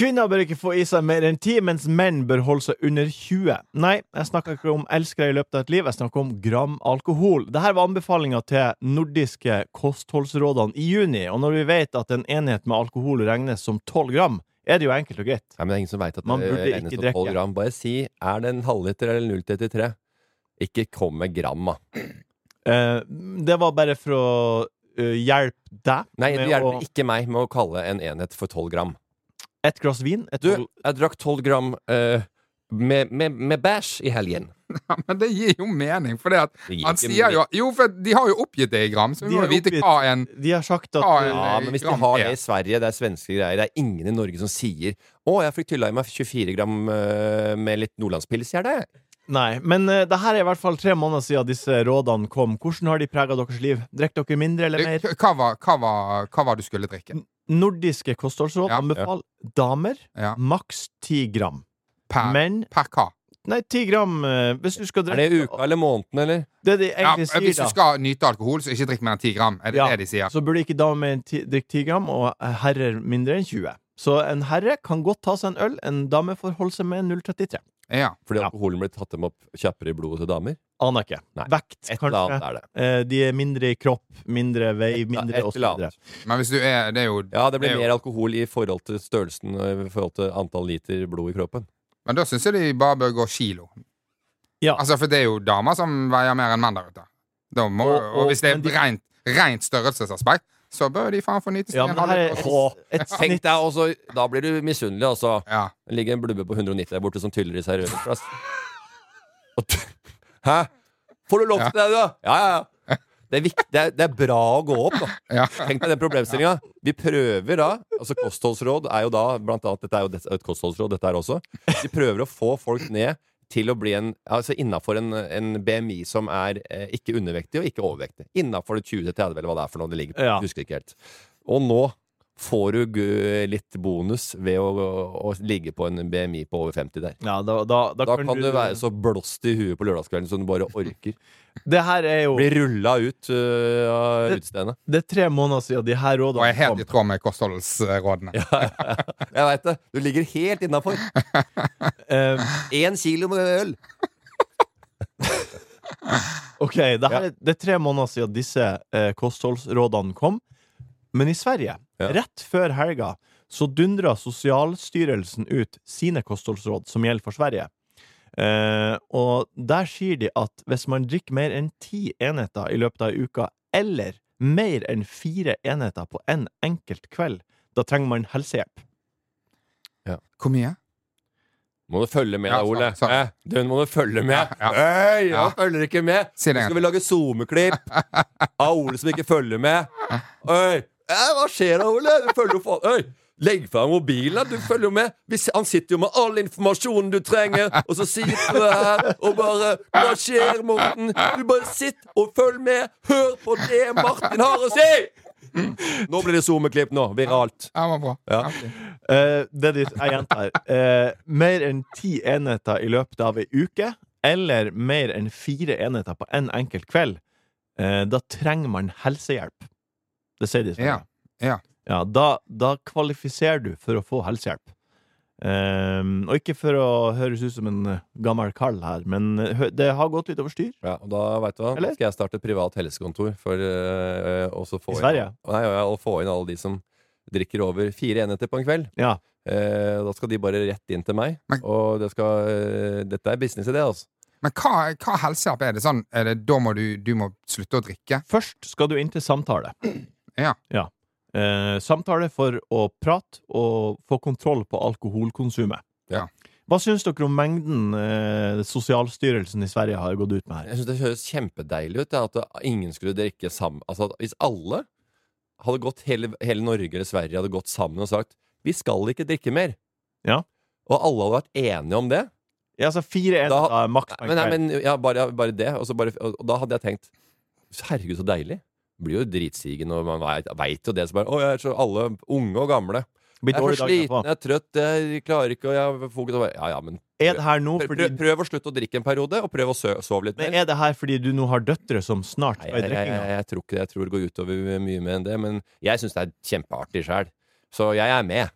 Kvinner bør ikke få i seg mer enn 10, mens menn bør holde seg under 20. Nei, jeg snakker ikke om elskere i løpet av et liv, jeg snakker om gram alkohol. Dette var anbefalinga til nordiske kostholdsrådene i juni, og når vi vet at en enhet med alkohol regnes som 12 gram, er det jo enkelt og greit. Nei, men det er ingen som veit at Man det burde ikke regnes på drikke. 12 gram. Bare si er det en halvliter eller 0,33. Ikke kom med gram, da. Eh, det var bare for å eh, hjelpe deg Nei, det med hjelper å ikke meg med å kalle en enhet for 12 gram. Et glass vin, et Du, tolv- jeg drakk 12 gram eh, med, med, med bæsj i helgen. Ja, men det gir jo mening, for det at Det gir han ikke sier jo mening. Jo, for de har jo oppgitt det i gram, så De vi må har jo vite oppgitt- hva en De har sagt at Ja, eh, Ja, men hvis de gram har er. det i Sverige, det er svenske greier Det er ingen i Norge som sier 'Å, jeg fikk tylla i meg 24 gram eh, med litt nordlandspils', jeg, det. Nei. Men eh, det her er i hvert fall tre måneder siden disse rådene kom. Hvordan har de prega deres liv? Drikker dere mindre eller mer? hva var, hva, var, hva var du skulle drikke? Nordiske kostholdsråd Ja, ja. anbefaler damer Ja. maks 10 gram. Per, Menn per hva? Nei, 10 gram eh, hvis du skal Er drikke det uka eller måneden, eller? Det de Ja, egentlig hvis sier, du da, skal nyte alkohol, så ikke drikk mer enn 10 gram. Er det Ja. det de sier? så burde ikke damer mer enn ti- drikke 10 gram, og eh, herrer mindre enn 20. Så en herre kan godt ta seg en øl, en dame får holde seg med 0,33. Ja. Fordi Ja. alkoholen blir tatt dem opp kjappere i blodet til damer? Aner ikke. Nei. Vekt, Et eller kanskje. annet er det. Eh, De er mindre i kropp, mindre vei, mindre et og så eller videre. annet. Men hvis du er Det er jo Ja, det Det blir er jo- mer alkohol i forhold til størrelsen og i forhold til antall liter blod i kroppen. Men da syns jeg de bare bør gå kilo. Ja. Altså, for det er jo damer som veier mer enn menn der ute. Da må, Og- og, og- hvis det er men de- rent, rent størrelsesaspekt, så bør de faen få nyte sin Ja, men det her er halvliter. et, et Tenk snitt deg også, Da blir du misunnelig, altså. Ja. Det ligger en blubbe på 190 der borte som tyller i seg rødvinsglass. Og t- Hæ? Får du lov til det, du? Ja, ja, ja. Det er, viktig, det, er, det er bra å gå opp, da. Ja. Tenk deg den problemstillinga. Vi prøver da altså Kostholdsråd er jo da blant annet, Dette er jo det- et kostholdsråd, dette her også. Vi prøver å få folk ned til å bli en Altså innafor en, en BMI som er eh, ikke undervektig og ikke overvektig. Innafor 20-30, eller hva det er for noe det ligger på. Ja. Husker ikke helt. Og nå får du gu- litt bonus ved å, å, å ligge på en BMI på over 50 der. ja, da, da, da, Da kan du være så blåst i huet på lørdagskvelden som du bare orker. Det her er jo Bli rulla ut øh, av Det- utestedet. Det er tre måneder siden de her Og rådene er helt i tråd med kostholdsrådene. Jeg veit det. Du ligger helt innafor. Eh, Én kilo med øl. Ok, det, her, er- det er tre måneder siden disse eh, kostholdsrådene kom. Men i Sverige, Ja. rett før helga, så dundra Sosialstyrelsen ut sine kostholdsråd som gjelder for Sverige. Eh, og der sier de at hvis man drikker mer enn ti enheter i løpet av ei uke, eller mer enn fire enheter på en enkelt kveld, da trenger man helsehjelp. Hvor mye? Må du følge med, da, Ja, Ole. sant, sant. Eh, den må du følge med. Ja, ja. Øy, jeg Ja. følger ikke med. Si det Nå en gang skal vi lage SoMe-klipp av Ole som ikke følger med. Øy, eh, hva skjer da, Ole? Du følger jo faen Øy, legg fra deg mobilen. da. Du følger jo med. Vi s- Han sitter jo med all informasjonen du trenger, og så sitter du her og bare Hva skjer, Morten? Du bare sitt og følg med. Hør på det Martin har å si! Nå blir det SoMe-klipp nå. Viralt. Ja, var bra. Ja. Ja, fint. Eh, det de, jeg gjentar. Eh, mer enn ti enheter i løpet av ei uke, eller mer enn fire enheter på en enkelt kveld, eh, da trenger man helsehjelp. Det sier de. i Sverige. Ja, ja. Ja, da, da kvalifiserer du for å få helsehjelp. Eh, og ikke for å høres ut som en eh, gammel kall her, men eh, hø- det har gått litt over styr. Ja, og da vet du hva, Eller? nå skal jeg starte et privat helsekontor for øh, øh, og så få I inn- Sverige? Nei, ja, ja, og få inn alle de som drikker over fire enheter på en kveld. Ja. Eh, da skal de bare rett inn til meg, Men- og det skal, øh, dette er businessidé, altså. Men hva, hva helsehjelp er det sånn? Er det, da må du, du må slutte å drikke? Først skal du inn til samtale. Ja. Eh, samtale for å prate og få kontroll på alkoholkonsumet. Ja. Hva syns dere om mengden eh, Sosialstyrelsen i Sverige har gått ut med her? Jeg synes det høres kjempedeilig ut, det, at det- ingen skulle drikke sammen. Altså, at hvis alle hadde gått, hele, hele Norge eller Sverige hadde gått sammen og sagt, vi skal ikke drikke mer. Ja. Og alle hadde vært enige om det. Ja, altså fire Da- enheter er maks på en Men, nei, kveld. men ja, bare, bare det. Og, så bare, og, og da hadde jeg tenkt Herregud, så deilig. Blir jo dritsigen, og man veit jo det. Så bare, å, jeg er så alle unge og gamle. Blir Jeg er dårlig for dagen sliten, etterpå. jeg er trøtt, jeg klarer ikke og jeg har fokus, og bare, Ja, ja, men Er det her nå prøv, fordi, prøv, prøv å slutte å drikke en periode, og prøv å sø- sove litt men mer. er det her fordi du nå har døtre som snart Nei, skal i jeg, jeg, jeg, drikkinga? jeg tror ikke det. Jeg tror det går utover mye mer enn det. Men jeg syns det er kjempeartig sjæl. Så jeg er med.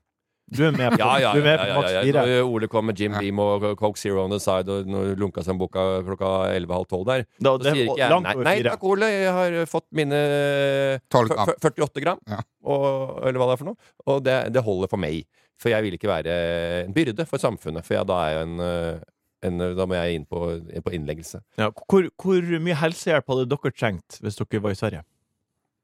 Du er med på, Ja, ja, du er med ja, ja, på ja, maks ja, fire. Når Ole kom med Jim Beam og Coke Zero on the side og når lunka seg en boka klokka 11.30 der. Da- Så det- sier ikke jeg langt nei, over nei fire. takk, Ole, jeg har eh, fått mine eh, 12 fyr- gram. fyr- 48 gram, Ja. og, eller hva det er for noe. Og det, det holder for meg. For jeg vil ikke være en byrde for samfunnet, for jeg, da er jeg en, eh, en Da må jeg inn på, inn på innleggelse. Ja, hvor, hvor mye helsehjelp hadde dere trengt hvis dere var i Sverige?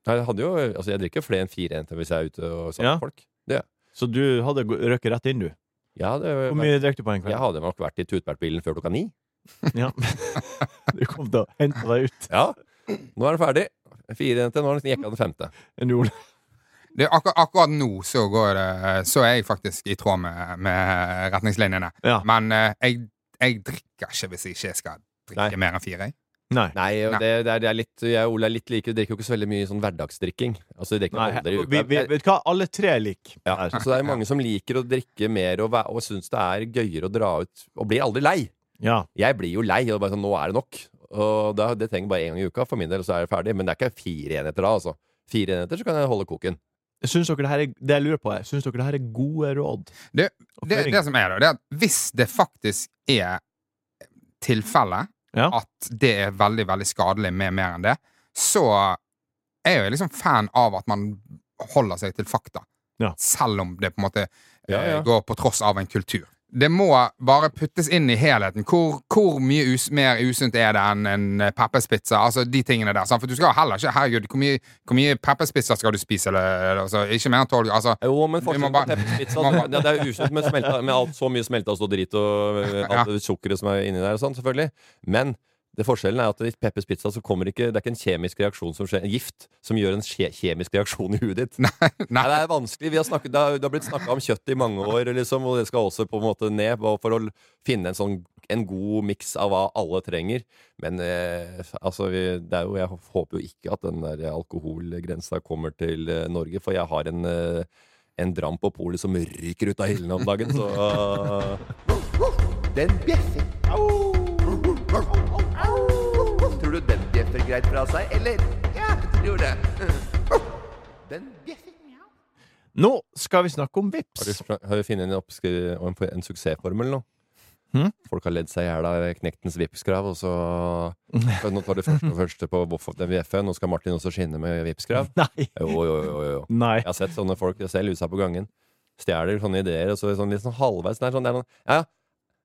Nei, Jeg, hadde jo, altså jeg drikker jo flere enn fire enter hvis jeg er ute og sammen Ja. med folk. Det. Så du hadde gå- røket rett inn, du. Ja, det, Hvor mye drakk du på en jeg kveld? hadde nok vært i tutbertbilen før klokka ni. Ja. Du kom til å hente deg ut Ja, Nå er det ferdig. Fire jenter, nå har nesten jekka den femte. en jord. Det, er akkur akkurat nå så, går det, så er jeg faktisk i tråd med, med retningslinjene. Ja. Men eh, jeg, jeg drikker ikke hvis jeg ikke skal drikke Nei. mer enn fire. jeg. Nei. Nei, og Nei. det, det, er, det er litt Jeg og Ole er litt like, vi drikker jo ikke så veldig mye sånn hverdagsdrikking. Altså, vi drikker Nei. aldri i uka. Vi, vi, vet du hva? Alle tre er like. ja, så det er mange som liker å drikke mer og, væ- og syns det er gøyere å dra ut og blir aldri lei. Ja. Jeg blir jo lei, og bare sånn, nå er det nok. Og da, det trenger bare én gang i uka, for min del, og så er det ferdig. Men det er ikke fire enheter da, altså. Fire enheter, så kan jeg holde koken. Syns dere det her er, det jeg lurer på er, syns dere det her er gode råd? Det, Og det, føringer? det som er da, det er at hvis det faktisk er tilfelle Ja. at det er veldig, veldig skadelig med mer enn det, så er jeg jo liksom fan av at man holder seg til fakta. Ja. Selv om det på en måte eh, Ja, ja. går på tross av en kultur. Det må bare puttes inn i helheten. Hvor, hvor mye us mer usunt er det enn en pepperspizza? Altså de tingene der. sant? For du skal heller ikke Herregud, hvor mye, hvor mye pepperspizza skal du spise? Eller, altså, ikke mer enn tolv? Altså, Jo, men Vi forskjellen må på bare- pepperspizza må det, bare- det er jo usunt med, smelta, med alt, så mye smelta stå drit og eh, alt det sukkeret som er inni der og sånn, selvfølgelig. Men det forskjellen er at i Peppers pizza så kommer ikke Det er ikke en kjemisk reaksjon som skjer, en gift som gjør en kje, kjemisk reaksjon i huet ditt. Nei, nei. Det er vanskelig. Vi har snakket, det, har, det har blitt snakka om kjøtt i mange år, liksom, og det skal også på en måte ned bare for å l- finne en sånn en god miks av hva alle trenger. Men eh, altså, vi, det er jo, jeg håper jo ikke at den der alkoholgrensa kommer til eh, Norge, for jeg har en eh, en dram på polet som ryker ut av hyllene om dagen, så Den bjeffer. Tror du den bjeffer greit fra seg, eller? Ja, jeg tror det. Den bjeffer. Nå skal vi snakke om Har du, VIPs har du funnet en, oppskri- en, en suksessformel nå? Hm? Folk har ledd seg i hjel av knektens vipskrav, og så Nå tar du første og første på Voff of the VF-en, nå skal Martin også skinne med vipskrav. Nei. Jo, jo, jo, jo, jo. Nei. Jeg har sett sånne folk jeg ser lusa på gangen. Stjeler sånne ideer, og så er det sånn, litt sånn halvveis. Nei, sånn, det er noen, ja,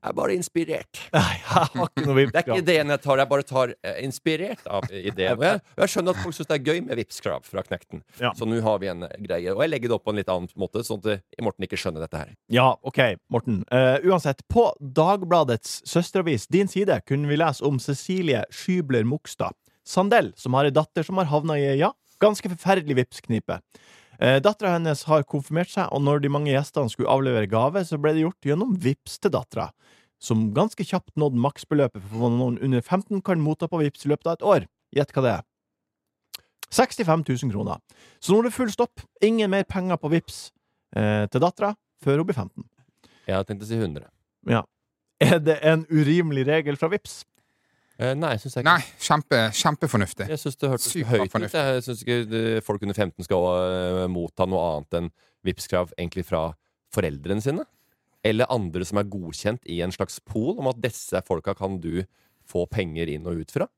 jeg er bare inspirert. Nei, jeg har ikke noe Det er ikke VIP-krav. ideen jeg tar, jeg bare tar eh, inspirert av ideen. Og jeg, og jeg skjønner at folk syns det er gøy med Vipps-krav fra Knekten. Ja. Så nå har vi en eh, greie. Og jeg legger det opp på en litt annen måte, sånn at eh, Morten ikke skjønner dette her. Ja, OK, Morten. Eh, uansett, på Dagbladets søsteravis, din side, kunne vi lese om Cecilie Skybler Mogstad Sandell, som har ei datter som har havna i ei ja, ganske forferdelig Vipps-knipe. Uh, dattera hennes har konfirmert seg, og når de mange gjestene skulle avlevere gave, så ble det gjort gjennom Vipps til dattera, som ganske kjapt nådde maksbeløpet for hva noen under 15 kan motta på Vipps i løpet av et år. Gjett hva det er. 65 000 kroner. Så nå er det full stopp. Ingen mer penger på Vipps eh, til dattera før hun blir 15. Jeg hadde tenkt å si 100. Er det en urimelig regel fra Vips? Eh, nei, jeg syns jeg ikke. Nei, kjempe, kjempefornuftig. Jeg syns det hørtes Sykt høyt ut. fornuftig. Jeg syns ikke eh, folk under 15 skal eh, motta noe annet enn Vipps-krav egentlig fra foreldrene sine. Eller andre som er godkjent i en slags pool om at disse folka kan du få penger inn og ut fra.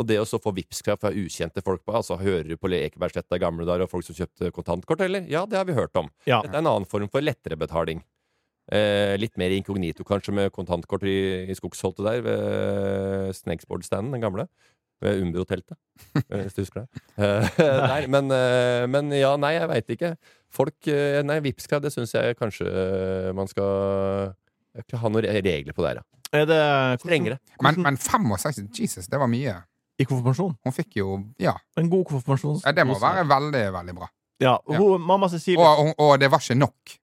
Og det å så få Vipps-krav fra ukjente folk på, altså hører du på Ekebergsletta i gamle dager og folk som kjøpte kontantkort, eller? Ja, det har vi hørt om. Ja. Dette er en annen form for lettere betaling. Eh, litt mer inkognito, kanskje, med kontantkort i, i skogsholtet der, ved Snakesboard-standen, den gamle. Ved Umbro-teltet, eh, hvis du husker det. Eh, nei, men, eh, men ja, nei, jeg veit ikke. Folk eh, Nei, Vipps-krav, det syns jeg kanskje eh, man skal ikke ha noen re- regler på der, ja. Er det Strengere. Men, men 65 Jesus, det var mye. I konfirmasjon. Hun fikk jo Ja, En god konfirmasjon. ja, det må være veldig, veldig bra. Ja, hun, Mamma Cecilie Og, og, og det var ikke nok.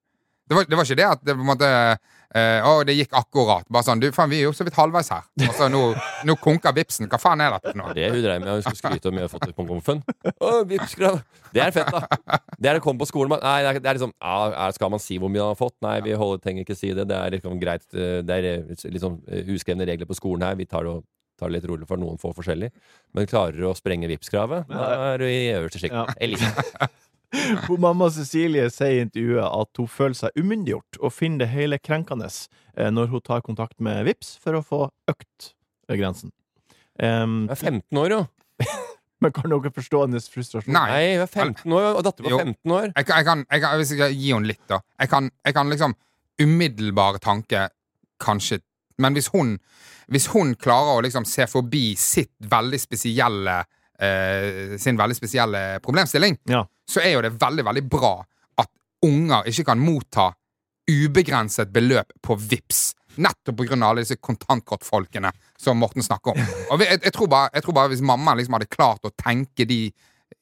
Det var, det var ikke det at det på en måte eh, Å, det gikk akkurat. Bare sånn Du, faen, vi er jo så vidt halvveis her. Altså, nå, nå konker vipsen. Hva faen er dette for noe? Det hun dreiv med, hun skulle skryte om mye hun har fått på konfen. Å, Vipps-krav! Det er fett, da. Det er å komme på skolen man, Nei, det er- det er liksom ja, er- Skal man si hvor mye han har fått? Nei, vi holder, trenger ikke si det. Det er liksom greit eh, Det er eh, liksom eh, uskrevne regler på skolen her. Vi tar det, og- tar det litt rolig for noen få forskjellig. Men klarer du å sprenge Vipps-kravet, da er du i øverste sjikt. Ja. Elite. Hvor mamma Cecilie sier i intervjuet at hun føler seg umyndiggjort og finner det hele krenkende eh, når hun tar kontakt med VIPS for å få økt eh, grensen. Em, Jeg er 15 år, jo. men kan dere forstå hennes frustrasjon? Nei. Nei, jeg er 15 år, og datter Jo. var 15 år. Jeg kan, jeg kan, jeg kan, hvis jeg kan gi henne litt, da. Jeg kan, jeg kan liksom Umiddelbar tanke, kanskje. Men hvis hun, hvis hun klarer å liksom se forbi sitt veldig spesielle eh, sin veldig spesielle problemstilling, Ja. så er jo det veldig, veldig bra at unger ikke kan motta ubegrenset beløp på VIPS. Nettopp pga. alle disse kontantkortfolkene som Morten snakker om. Og vi- jeg, jeg, tror bare, jeg tror bare Hvis mammaen liksom hadde klart å tenke de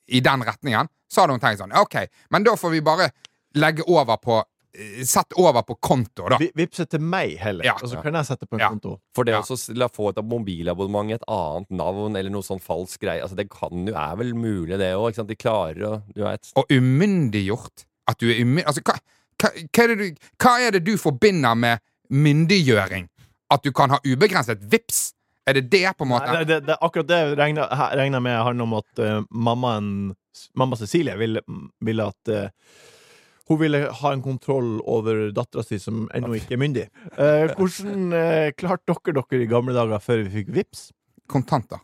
i den retningen, så hadde hun tenkt sånn OK, men da får vi bare legge over på eh, Sett over på konto, da. Vi- Vips det til meg heller, Ja. og så kan jeg sette på en Ja. konto. For det Ja. å så s- la få et mobilabonnement i et annet navn eller noe sånn falsk greie, altså det kan jo, er vel mulig det òg, ikke sant? De klarer å Du veit. Og umyndiggjort. At du er umy... Altså, hva, hva, hva, er det du, hva er det du forbinder med myndiggjøring? At du kan ha ubegrenset vips? Er det det, på en måte? Nei, det, det, akkurat det regner her regner jeg med handler om at eh, mammaen, mamma Cecilie ville, ville at eh, hun ville ha en kontroll over dattera si som ennå ikke er myndig. Eh, hvordan eh, klarte dere dere i gamle dager før vi fikk VIPS? Kontanter.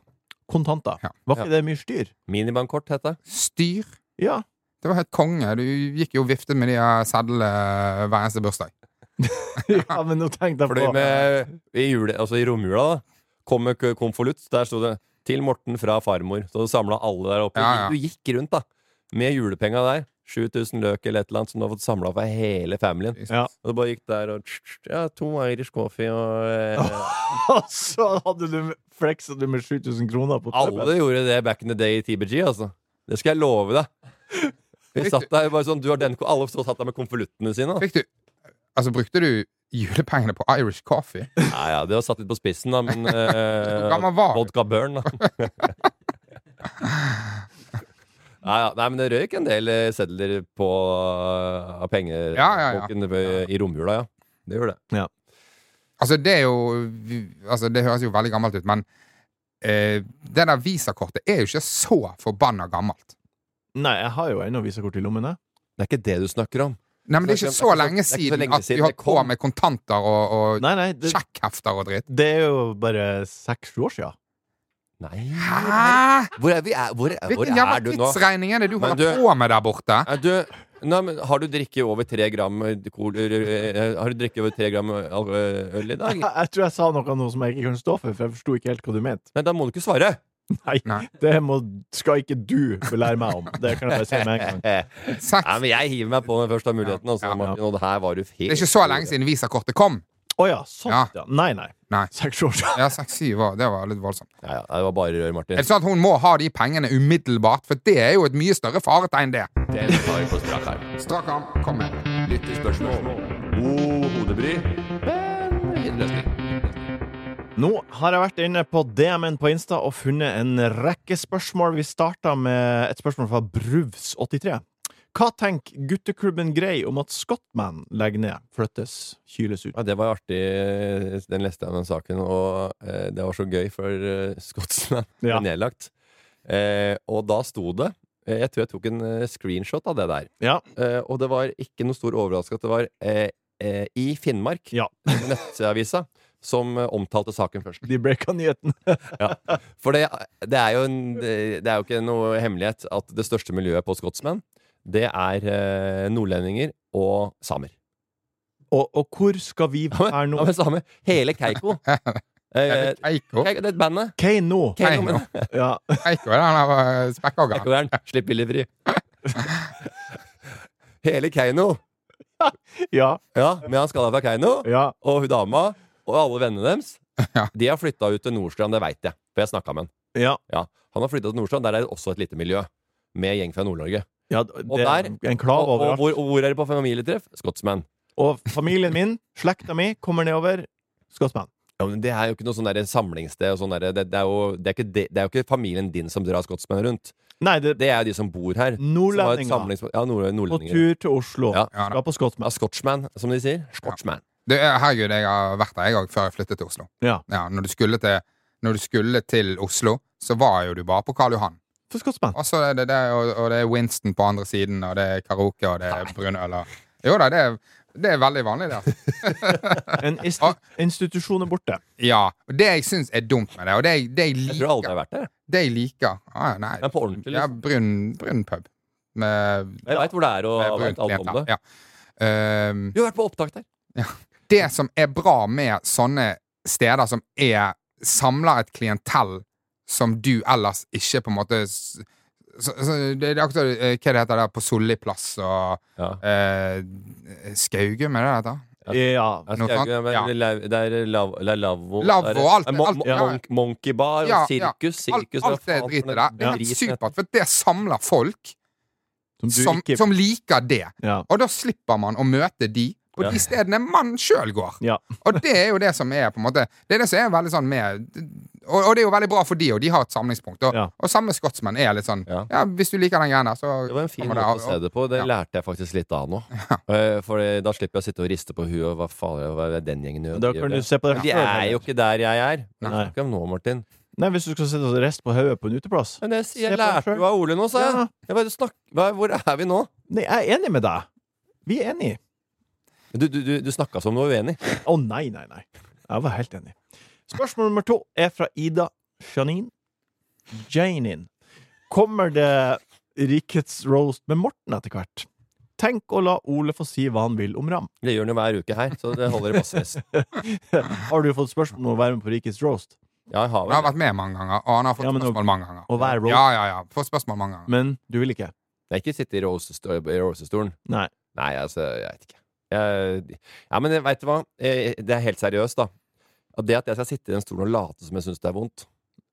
Kontanter. Ja. Var ikke det mye styr? Minibankkort heter det. Styr. Ja. Det var helt konge. Du gikk jo og viftet med de her sedlene hver eneste bursdag. ja, men nå tenkte jeg Fordi på med, i, jule, altså I romjula da kom med k- konvolutt. Der sto det 'Til Morten fra farmor'. Så du samla alle der oppe. Ja, ja. Du gikk rundt da med julepenga der. 7000 løk eller et eller annet som du har fått samla for hele familien. Ja. Og du bare gikk der og tss, tss, Ja, to Irish coffee og eh, Og så hadde du fleksa du med 7000 kroner på Alle gjorde det back in the day i TBG, altså. Det skal jeg love deg. Vi satt der bare sånn, du har den, Alle så satt der med konvoluttene sine. Da. Fikk du Altså, brukte du julepengene på Irish coffee? Ja, ja, Det var satt litt på spissen, da, men Hvor eh, gammel var du? Vodka burn, da. Nei, ja, nei, men det røyk en del eh, sedler på uh, penger Ja, ja, ja. folkene ved- i romjula, ja. Det gjorde det. Altså, det er jo Altså, det høres jo veldig gammelt ut, men eh, det der visakortet er jo ikke så forbanna gammelt. Nei, jeg har jo ennå visakort i lommen, jeg. Det er ikke det du snakker om. Nei, men det er ikke så Det lenge er ikke så siden lenge at vi siden holdt det på kom. med kontanter og, og Nei, nei, det, sjekkhefter og dritt. det er jo bare seks-sju år sia. Nei Hæ? Hvor er, vi, er, hvor, er- hvor Hvilken jævla er du nå? tidsregning er det du Men holder du- på med der borte? Er du, nei, men har du drikket over tre gram kol, eh, Har du drikket over tre gram al- øl i dag? Jeg, jeg tror jeg sa noe nå som jeg ikke kunne stå for, for jeg forsto ikke helt hva du mente. Nei, da må du ikke svare! Nei, Nei. det må, skal ikke du belære meg om. Det kan jeg bare si med en gang. Eh, Seks. Nei, men Jeg hiver meg på den første muligheten. Altså, Ja, ja. Martin, og det her var du helt Det er ikke så lenge siden visakortet kom. Å ja, sånn, Ja. ja. Nei, nei. Nei. Seks år siden. Ja, seks-syv år. Det var litt voldsomt. Ja, ja, det var bare rør, Martin. Er det sånn at hun må ha de pengene umiddelbart? For det er jo et mye større faretegn, det. Det tar vi på strak arm. Strak arm. Kom med. Lyttespørsmål. God hodebry, men ingen løsning. Nå har jeg vært inne på DM-en på Insta og funnet en rekke spørsmål. Vi starta med et spørsmål fra Bruvs83. Hva tenker gutteklubben Grei om at Scottman legger ned, flyttes, kyles ut? Ja, det var artig, den leste jeg om den saken, og eh, det var så gøy, for eh, Scotsman ble Ja. nedlagt. Eh, og da sto det eh, Jeg tror jeg tok en eh, screenshot av det der. Ja. Eh, og det var ikke noe stor overraskelse at det var eh, eh, i Finnmark, Ja. nettavisa, som eh, omtalte saken først. De breaka nyheten. For det, det, er jo en, det er jo ikke noe hemmelighet at det største miljøet på Scotsman, det er eh, nordlendinger og samer. Og, og hvor skal vi være Ja, nå? men samer. Hele Keiko. Eh, Eiko. Keiko, det er bandet. Hva nå? Keiko, Nei, men nå. Ja. Eiko er den der eh, spekkhoggeren. Keiko er den. Slipp billig fri. Hele Keiino. ja, Ja, med han skalla fra Keiino, ja. og hun dama, og alle vennene deres, Ja. de har flytta ut til Nordstrand, det veit jeg, for jeg snakka med han. Ja, Ja, han har flytta til Nordstrand, der er det også et lite miljø. Med gjeng fra Nord-Norge. ja det Og er der- en Og, klav og, overalt. hvor, og hvor er det på familietreff? Scotsman. Og familien min, slekta mi, kommer nedover. Skotsmann. Ja, men Det er jo ikke noe sånn der samlingssted. Og sånn der. Det, det, er jo, det, er ikke de, det er jo ikke familien din som drar Scotsman rundt. Nei, det Det er jo de som bor her. som har et nordlendinger samlingspunkt- Ja, nord, på nordlendinger. tur til Oslo Ja. Ja, da. skal på Ja, Skotsmann. Scotchman, som de sier. Scotchman. Det er, herregud, jeg har vært der, jeg òg, før jeg flyttet til Oslo. Ja. når, du skulle til, når du skulle til Oslo, så var jo du bare på Karl Johan. Skatteskotsmenn. Og så er Altså, det, det og, og det er Winston på andre siden, og det er karaoke, og det er brunøl og Jo da, det er, det er veldig vanlig, det. altså. En insti Ah. institusjon er borte. Ja. Og det jeg syns er dumt med det, og det jeg, det jeg Jeg tror aldri jeg liker har vært der. Det jeg liker ah, ja, Nei, Men på ordentlig, ja, liksom. brun, brun pub. Med, Jeg veit hvor det er, og med jeg brunt vet alt om flertall. det. Ja. Ehm, Du har vært på opptak der. det som er bra med sånne steder som er samler et klientell som du ellers ikke på en måte s- så, så, det, det er akkurat eh, hva det heter der på Solli plass og Ja. eh, Skaugum, er det det heter? Ja. Jeg Noe skal, sånt, men ja. la- det er lav- det er lavvo Lavvo det er- og alt- Mon- alt- mon- ja. monk- Monkeybar Ja, og sirkus. ja. Alt, sirkus, hva alt det faen for dritet noe der. Det er drit. helt supert, for det samler folk Som du som, ikke som liker det. ja. Og da slipper man å møte de på Ja. de stedene man sjøl går. Ja. Og det er jo det som er på en måte Det er det som er veldig sånn med Og, og det er jo veldig bra for de, og de har et samlingspunkt. Og, Ja. og samme skotsmenn er litt sånn ja. Ja. hvis du liker den greia der, så Det var en fin måte kommer det av- å se det på. Det ja. lærte jeg faktisk litt av nå. Eh, For eh, da slipper jeg å sitte og riste på huet. og Hva faen hva er det den gjengen Da gjør? De gjør kan du det. se på det Men De er jo ikke der jeg er. Nei. Hva snakker jeg om nå, Martin? Nei, hvis du skal sitte og riste på hodet på en uteplass. Men jeg, Se på jeg deg lærte selv. jo av Ole nå, sa Ja. jeg. jeg bare, snakk, hva, hvor er vi nå? Nei, jeg er enig med deg. Vi er enige. Du, du, du, du snakka som du var uenig. Å nei, nei, nei. Jeg var helt enig. Spørsmål nummer to er fra Ida Janine. Janin. Kommer det Rikets roast med Morten etter hvert? Tenk å la Ole få si hva han vil om Ram. Det gjør han jo hver uke her, så det holder i massevis. Har du fått spørsmål om å være med på Rikets roast? Ja, jeg har Han vel har det. vært med mange ganger, og han har fått Ja, men å- spørsmål mange ganger. å være roast- Ja, ja, ja. Fått spørsmål mange ganger. Men du vil ikke? Jeg har ikke sittet i rosesto- i rosestolen. Nei. Nei, altså, jeg vet ikke. Jeg, ja, men veit du hva? Eh, Det er helt seriøst, da. At Det at jeg skal sitte i den stolen og late som jeg syns det er vondt,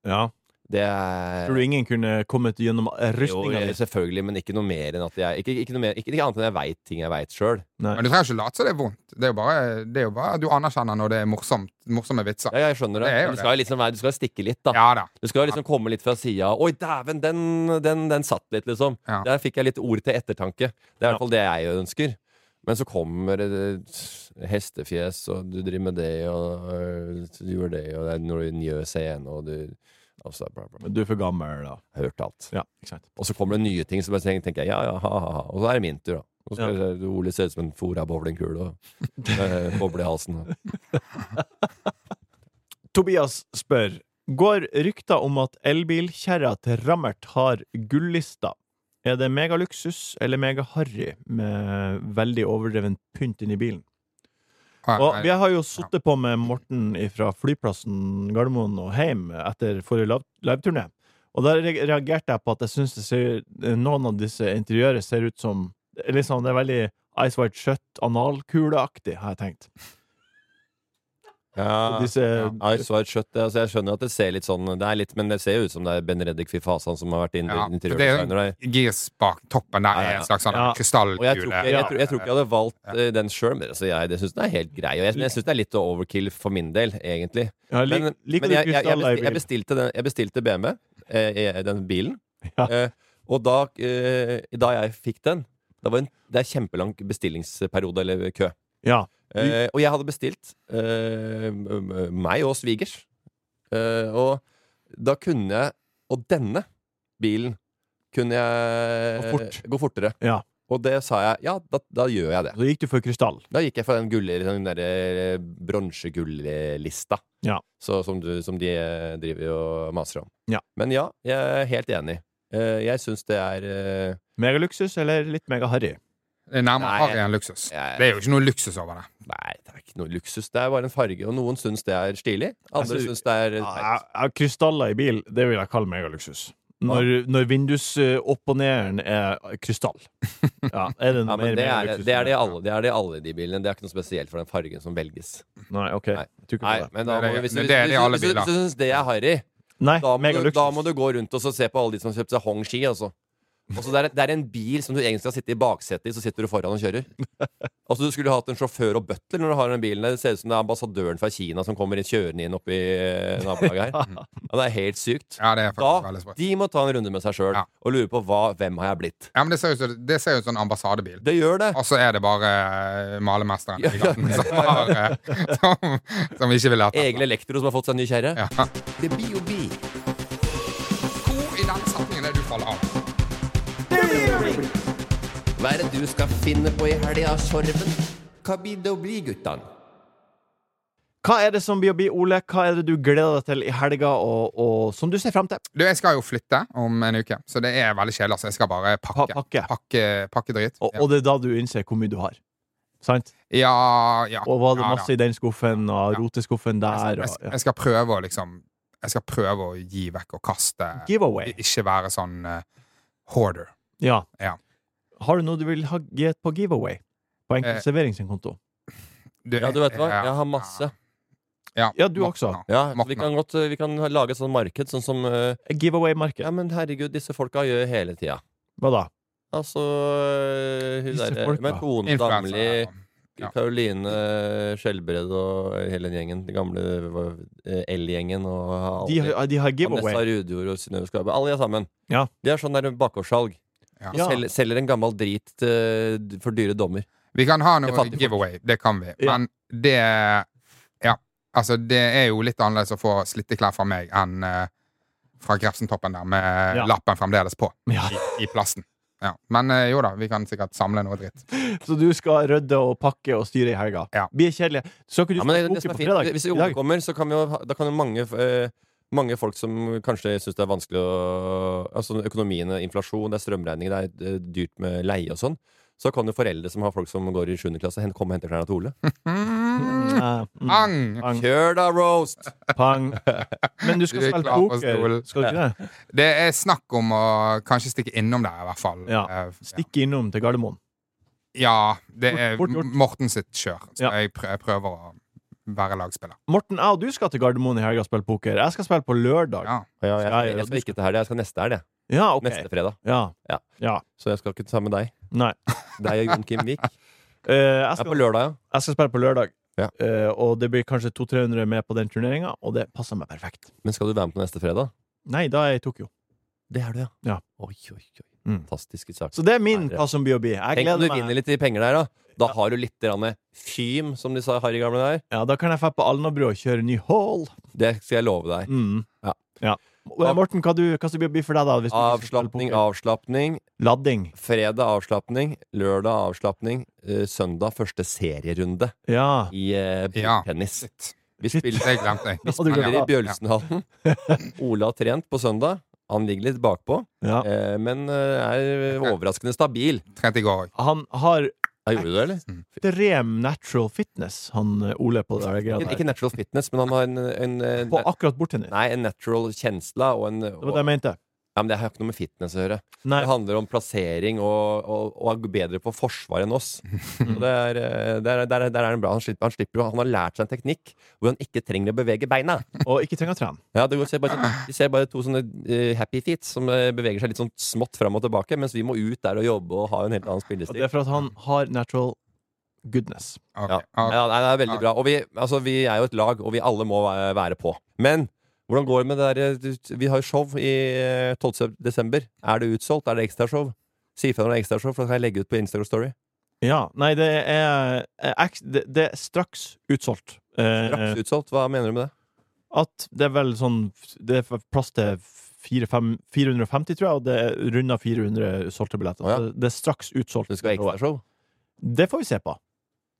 Ja. det er Tror du ingen kunne kommet gjennom Jo, rustninga jeg- di? selvfølgelig, men ikke noe mer enn at jeg Ikke, ikke, noe mer, ikke, ikke annet enn jeg veit ting jeg veit sjøl. Men du trenger ikke late som det er vondt. Det er jo bare, det er jo bare at du anerkjenner når det er morsomt, morsomme vitser. Ja, jeg skjønner det. Det er jo men du skal jo liksom, være- du skal stikke litt, da. Ja da. Du skal liksom komme litt fra sida. 'Oi, dæven, den, den, den satt litt', liksom. Ja. Der fikk jeg litt ord til ettertanke. Det er i hvert fall det jeg ønsker. Men så kommer det hestefjes, og du driver med det, og øh, du gjør det, og det er når du gjør scenen, og du Altså, bla, bla, bla. Men Du er for gammel, da. Hørt alt. Ja, ikke sant. Og så kommer det nye ting som jeg tenker, tenker jeg, ja, ja, ha, ha, ha. Og så er det min tur, da. Og så skal jeg- Ole ser ut som en fora bowlingkule og eh, boble i halsen. Tobias spør Går rykter om at elbilkjerra til Rammert har gullista. Er det megaluksus eller megaharry med veldig overdreven pynt inni bilen? Ja, Og nei. vi har jo sittet på med Morten fra flyplassen Gardermoen og hjem etter forrige lav- liveturné. Og der re- reagerte jeg på at jeg syns det ser Noen av disse interiøret ser ut som Liksom, det er veldig Ice White Shut, analkuleaktig, har jeg tenkt. Ja. Disse Ice White Shut, ja, så jeg skjønner at det ser litt sånn det er litt, Men det ser jo ut som det er Benedict Fifasan som har vært in- Ja, for det er interiørdesigner der. Girsbak-toppen der Ja, ja, er en slags sånn ja. Og jeg tror, krystallkule. ikke, jeg, tror, jeg tror ikke jeg hadde valgt eh, den sjøl, men altså, jeg, det syns den er helt grei. Og jeg, jeg syns det er litt overkill for min del, egentlig. Ja, lik, Men, liker men du jeg, jeg, jeg, krystaller i bestilte, jeg, bilen? bestilte den, jeg bestilte BMW, eh, i- den bilen. Ja. Eh, og da, eh, da jeg fikk den det, var en, det er kjempelang bestillingsperiode eller kø. Ja. Eh, og jeg hadde bestilt eh, m- m- meg og svigers. Eh, og da kunne jeg Og denne bilen kunne jeg Gå fort. gå fortere. ja. Og det sa jeg. Ja, da, da gjør jeg det. Så gikk du for krystall. Da gikk jeg for den, gull- den der eh, bronsegullista. Ja. Så, som, du, som de eh, driver og maser om. Ja. Men ja, jeg er helt enig. Eh, Jeg syns det er eh, Megaluksus eller litt megaharry? Det er nærmere Nei, harry enn luksus. jeg- Det er jo ikke noe luksus over det. Nei, det er ikke noe luksus. Det er bare en farge, og noen syns det er stilig. Andre Jeg synes- syns det er eh, Altså, Ja, teit. ja, krystaller i bil, det vil jeg kalle megaluksus. Når, når vindus, eh, opp og ned er krystall. Ja, er det noe mer Ja, men det er megaluksus det, er enn det, i alle, det er det i alle de bilene. Det er ikke noe spesielt for den fargen som velges. Nei, ok. Nei. Jeg tror ikke Nei, på det. men da Det er må, det- hvis, det er hvis, det i hvis, alle hvis, hvis, biler. du syns det er harry, Nei, da må, du, megaluksus. da må du gå rundt og så se på alle de som kjøpte seg Hong Shi. Altså. Altså, det, er, det er en bil som du egentlig skal sitte i baksetet i, så sitter du foran og kjører. Altså, du skulle hatt en sjåfør og butler når du har den bilen. Det ser ut som det er ambassadøren fra Kina som kommer inn kjørende inn oppi eh, nabolaget her. Ja, det er helt sykt. Ja, det er Da, faktisk veldig sprøtt. de må ta en runde med seg sjøl Ja. og lure på hva, hvem har jeg blitt. Ja, men det ser jo ut som- det ser jo ut som en ambassadebil. Det gjør det. Og så er det bare eh, malermesteren i Ja, ja, gaten som, har, eh, som, som ikke vil lete. Egil Elektro som har fått seg en ny kjerre. Ja. Det blir jo bil. Hvor i den setningen er du fall av. Hva er det du skal finne på i helga, Sorven? Hva blir det å bli, guttene? Hva er det som blir å bli, Ole? Hva er det du gleder deg til i helga, og, og som du ser frem til? Du, jeg skal jo flytte om en uke, så det er veldig kjedelig. Så jeg skal bare pakke. Pa- pakke. Pakke, pakke dritt. Og, og det er da du innser hvor mye du har. Sant? ja, ja. Og var det ja, da. masse i den skuffen, og Ja. roteskuffen der, jeg, og skal- ja. jeg skal prøve å liksom Jeg skal prøve å gi vekk og kaste. Giveaway. Ikke være sånn eh, hoarder. Ja. Ja. Har du noe du vil ha gi- på giveaway? På Eh. Enkel Servering sin konto? Du, Ja, du vet hva? ja, Jeg har masse. Ja, sånn. Ja, du måtte også. nå. Ja, så Måtte vi nå. kan godt eh, vi kan ha- lage et sånt marked, sånn som eh, Giveaway-marked. Ja, men herregud, disse folka gjør hele tida. Hva da? Altså eh, hun Disse derre folka. med kone, Influencer, Damli, ja. Karoline eh, Skjelbred og hele den gjengen. Den gamle eh, L-gjengen og De, alle- har- de har Vanessa giveaway. Rudjord og Synnøve Skarbø. Alle de er sammen. Ja. De er sånn der bakgårdssalg. Ja. De Selger, selger en gammel drit eh, d- for dyre dommer. Vi kan ha Jeg noe fattig folk. giveaway, det kan vi. Ja. Men det Ja, altså, det er jo litt annerledes å få slitte klær fra meg enn eh, fra Grefsentoppen der med Ja. lappen fremdeles på Ja. i, i plasten. Ja. Men eh, jo da, vi kan sikkert samle noe dritt. Så du skal rydde og pakke og styre i helga. Ja. Blir kjedelig. Skal ikke du Ja, men det, spille er poker det som på er fint. fredag? Hvis I Unge dag? kommer, så kan vi jo ha- Da kan jo mange eh, mange folk som kanskje syns det er vanskelig å Altså økonomien er inflasjon, det er strømregning, det er eh, dyrt med leie og sånn. Så kan jo foreldre som har folk som går i 7. klasse, hen- komme og hente klærne til Ole. Eh, mm, Ang! Pang, Kjør da, roast! pang. Men du skal Du er spille klar for poker, stol. skal du ikke det? Det er snakk om å kanskje stikke innom der, i hvert fall. Ja. Eh, ja. Stikke innom til Gardermoen. ja, det er Fort gjort. Morten sitt kjør. Så Ja. jeg prø- jeg prøver å være lagspiller. Morten, jeg og du skal til Gardermoen i helga og spille poker. Jeg skal spille på lørdag. Ja. Ja, jeg, Ja, ja, jeg, du skal ikke til helga, jeg skal neste helg. jeg. Ja, ok. Neste fredag. Ja. Ja. ja. Så jeg skal ikke sammen med deg. Nei. Deg og Jon Kim Vik. Eh, jeg, Det er skal, på lørdag, ja. jeg skal spille på lørdag, Ja. Eh, og det blir kanskje 200-300 med på den turneringa, og det passer meg perfekt. Men skal du være med på neste fredag? Nei, da er jeg i Tokyo. Det er du, ja. Ja. Oi, oi, oi. Mm. Fantastiske saker. Så det er min Herre. hva som blir å bli. Jeg Tenk om du gleder vinner meg. litt i penger der, da. Da har du litt grann fym, som de sa i Harry Gamle der. Ja, da kan jeg dra på Alnabru og kjøre ny hall. Det skal jeg love deg. Mm. Ja. Og, eh, Morten, hva, du, hva som blir å bli for deg, da? Mm. Hvis du ikke skal spille Avslapning, poker? avslapning. Ladding. Fredag avslapning, lørdag avslapning, eh, søndag første serierunde Ja. i eh, Ja. tennis. Shit. Vi spiller, Det glemte jeg. Og du Men glemte spiller ja. i Bjølsenhallen. Ole har trent på søndag. Han ligger litt bakpå, ja. eh, men eh, er overraskende stabil. Trent i går òg. Han har Ja, gjorde du det, eller? ekstrem natural fitness, han eh, Ole, på det greia Ikke, ikke der. natural fitness, men han har en, en, en På akkurat bordtennis. Nei, en natural kjensla og en Det var det jeg mente. Ja, men Det har ikke noe med fitness å gjøre. Nei. Det handler om plassering og, og, og er bedre på forsvar enn oss. Og det er, eh, der, er- der, er- der er han bra. Han slipper, han slipper jo Han har lært seg en teknikk hvor han ikke trenger å bevege beina. Og ikke trenger å trene. Ja, det går, ser bare, Vi ser bare to sånne eh, happy feet som eh, beveger seg litt sånn smått fram og tilbake, mens vi må ut der og jobbe og ha en helt annen Og spillestil. det er for at han har natural goodness. Ok. Ja. Ok. ja, nei, det er veldig bra. Og vi, altså, vi er jo et lag, og vi alle må væ- være på. Men hvordan går det med det der eh, Vi har jo show i eh, 12. desember. Er det utsolgt? Er det ekstrashow? Si ifra når det er ekstrashow, for da kan jeg legge ut på Instagram Story. Ja. Nei, det er, eh, eks- det, det er straks utsolgt. Eh, Straks utsolgt. Hva mener du med det? at det er vel sånn Det er plass til fire, fem, 450, tror jeg, og det er runda 400 solgte billetter. Å, ja. Så det er straks utsolgt. Det skal være ekstrashow. Det får vi se på.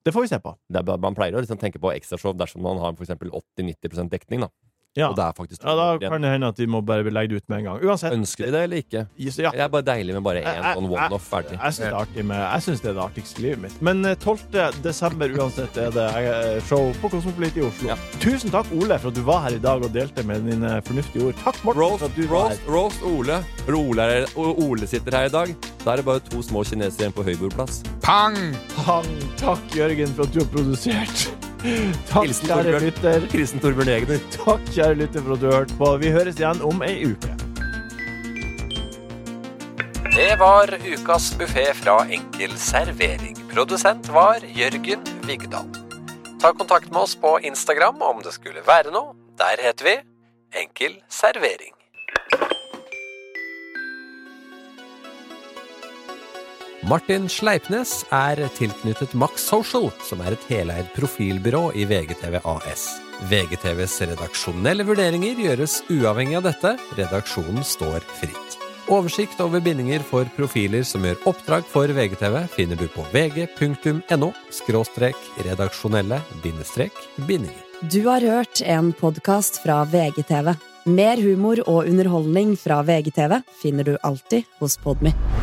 Det får vi se på. Det er, bare- man pleier å liksom tenke på ekstrashow dersom man har for eksempel 80-90 dekning. Da. Ja. Og det er faktisk ja, da kan det hende at vi må bare legge det ut med en gang. Uansett. Ønsker de det eller ikke? Ja, Eh, Det er bare deilig med bare én Jeg- jeg- sånn one-off ferdig. jeg syns det er artig med Jeg synes det er det artigste i livet mitt. Men eh, 12. desember uansett er det eh, show på Kosmopolit i Oslo. Ja. Tusen takk, Ole, for at du var her i dag og delte med dine fornuftige ord. Takk, Morten, Roast, for at du var roast, her. roast Ole. Eller Ole, er, Ole sitter her i dag. Da er det bare to små kinesere igjen på høybordplass. Pang! Pang. Takk, Jørgen, for at du har produsert. Takk, Hilsen, kjære Torbjørn. lytter. Kristen Torbjørn Egner. Takk, kjære lytter, for at du har hørt på. Vi høres igjen om ei uke. Det var ukas buffé fra Enkel servering. Produsent var Jørgen Vigdal. Ta kontakt med oss på Instagram om det skulle være noe. Der heter vi Enkel servering. Martin Sleipnes er tilknyttet Max Social, som er et heleid profilbyrå i VGTV AS. VGTVs redaksjonelle vurderinger gjøres uavhengig av dette. Redaksjonen står fritt. Oversikt over bindinger for profiler som gjør oppdrag for VGTV, finner du på vg.no – redaksjonelle – bindinger. Du har hørt en podkast fra VGTV. Mer humor og underholdning fra VGTV finner du alltid hos Podmy.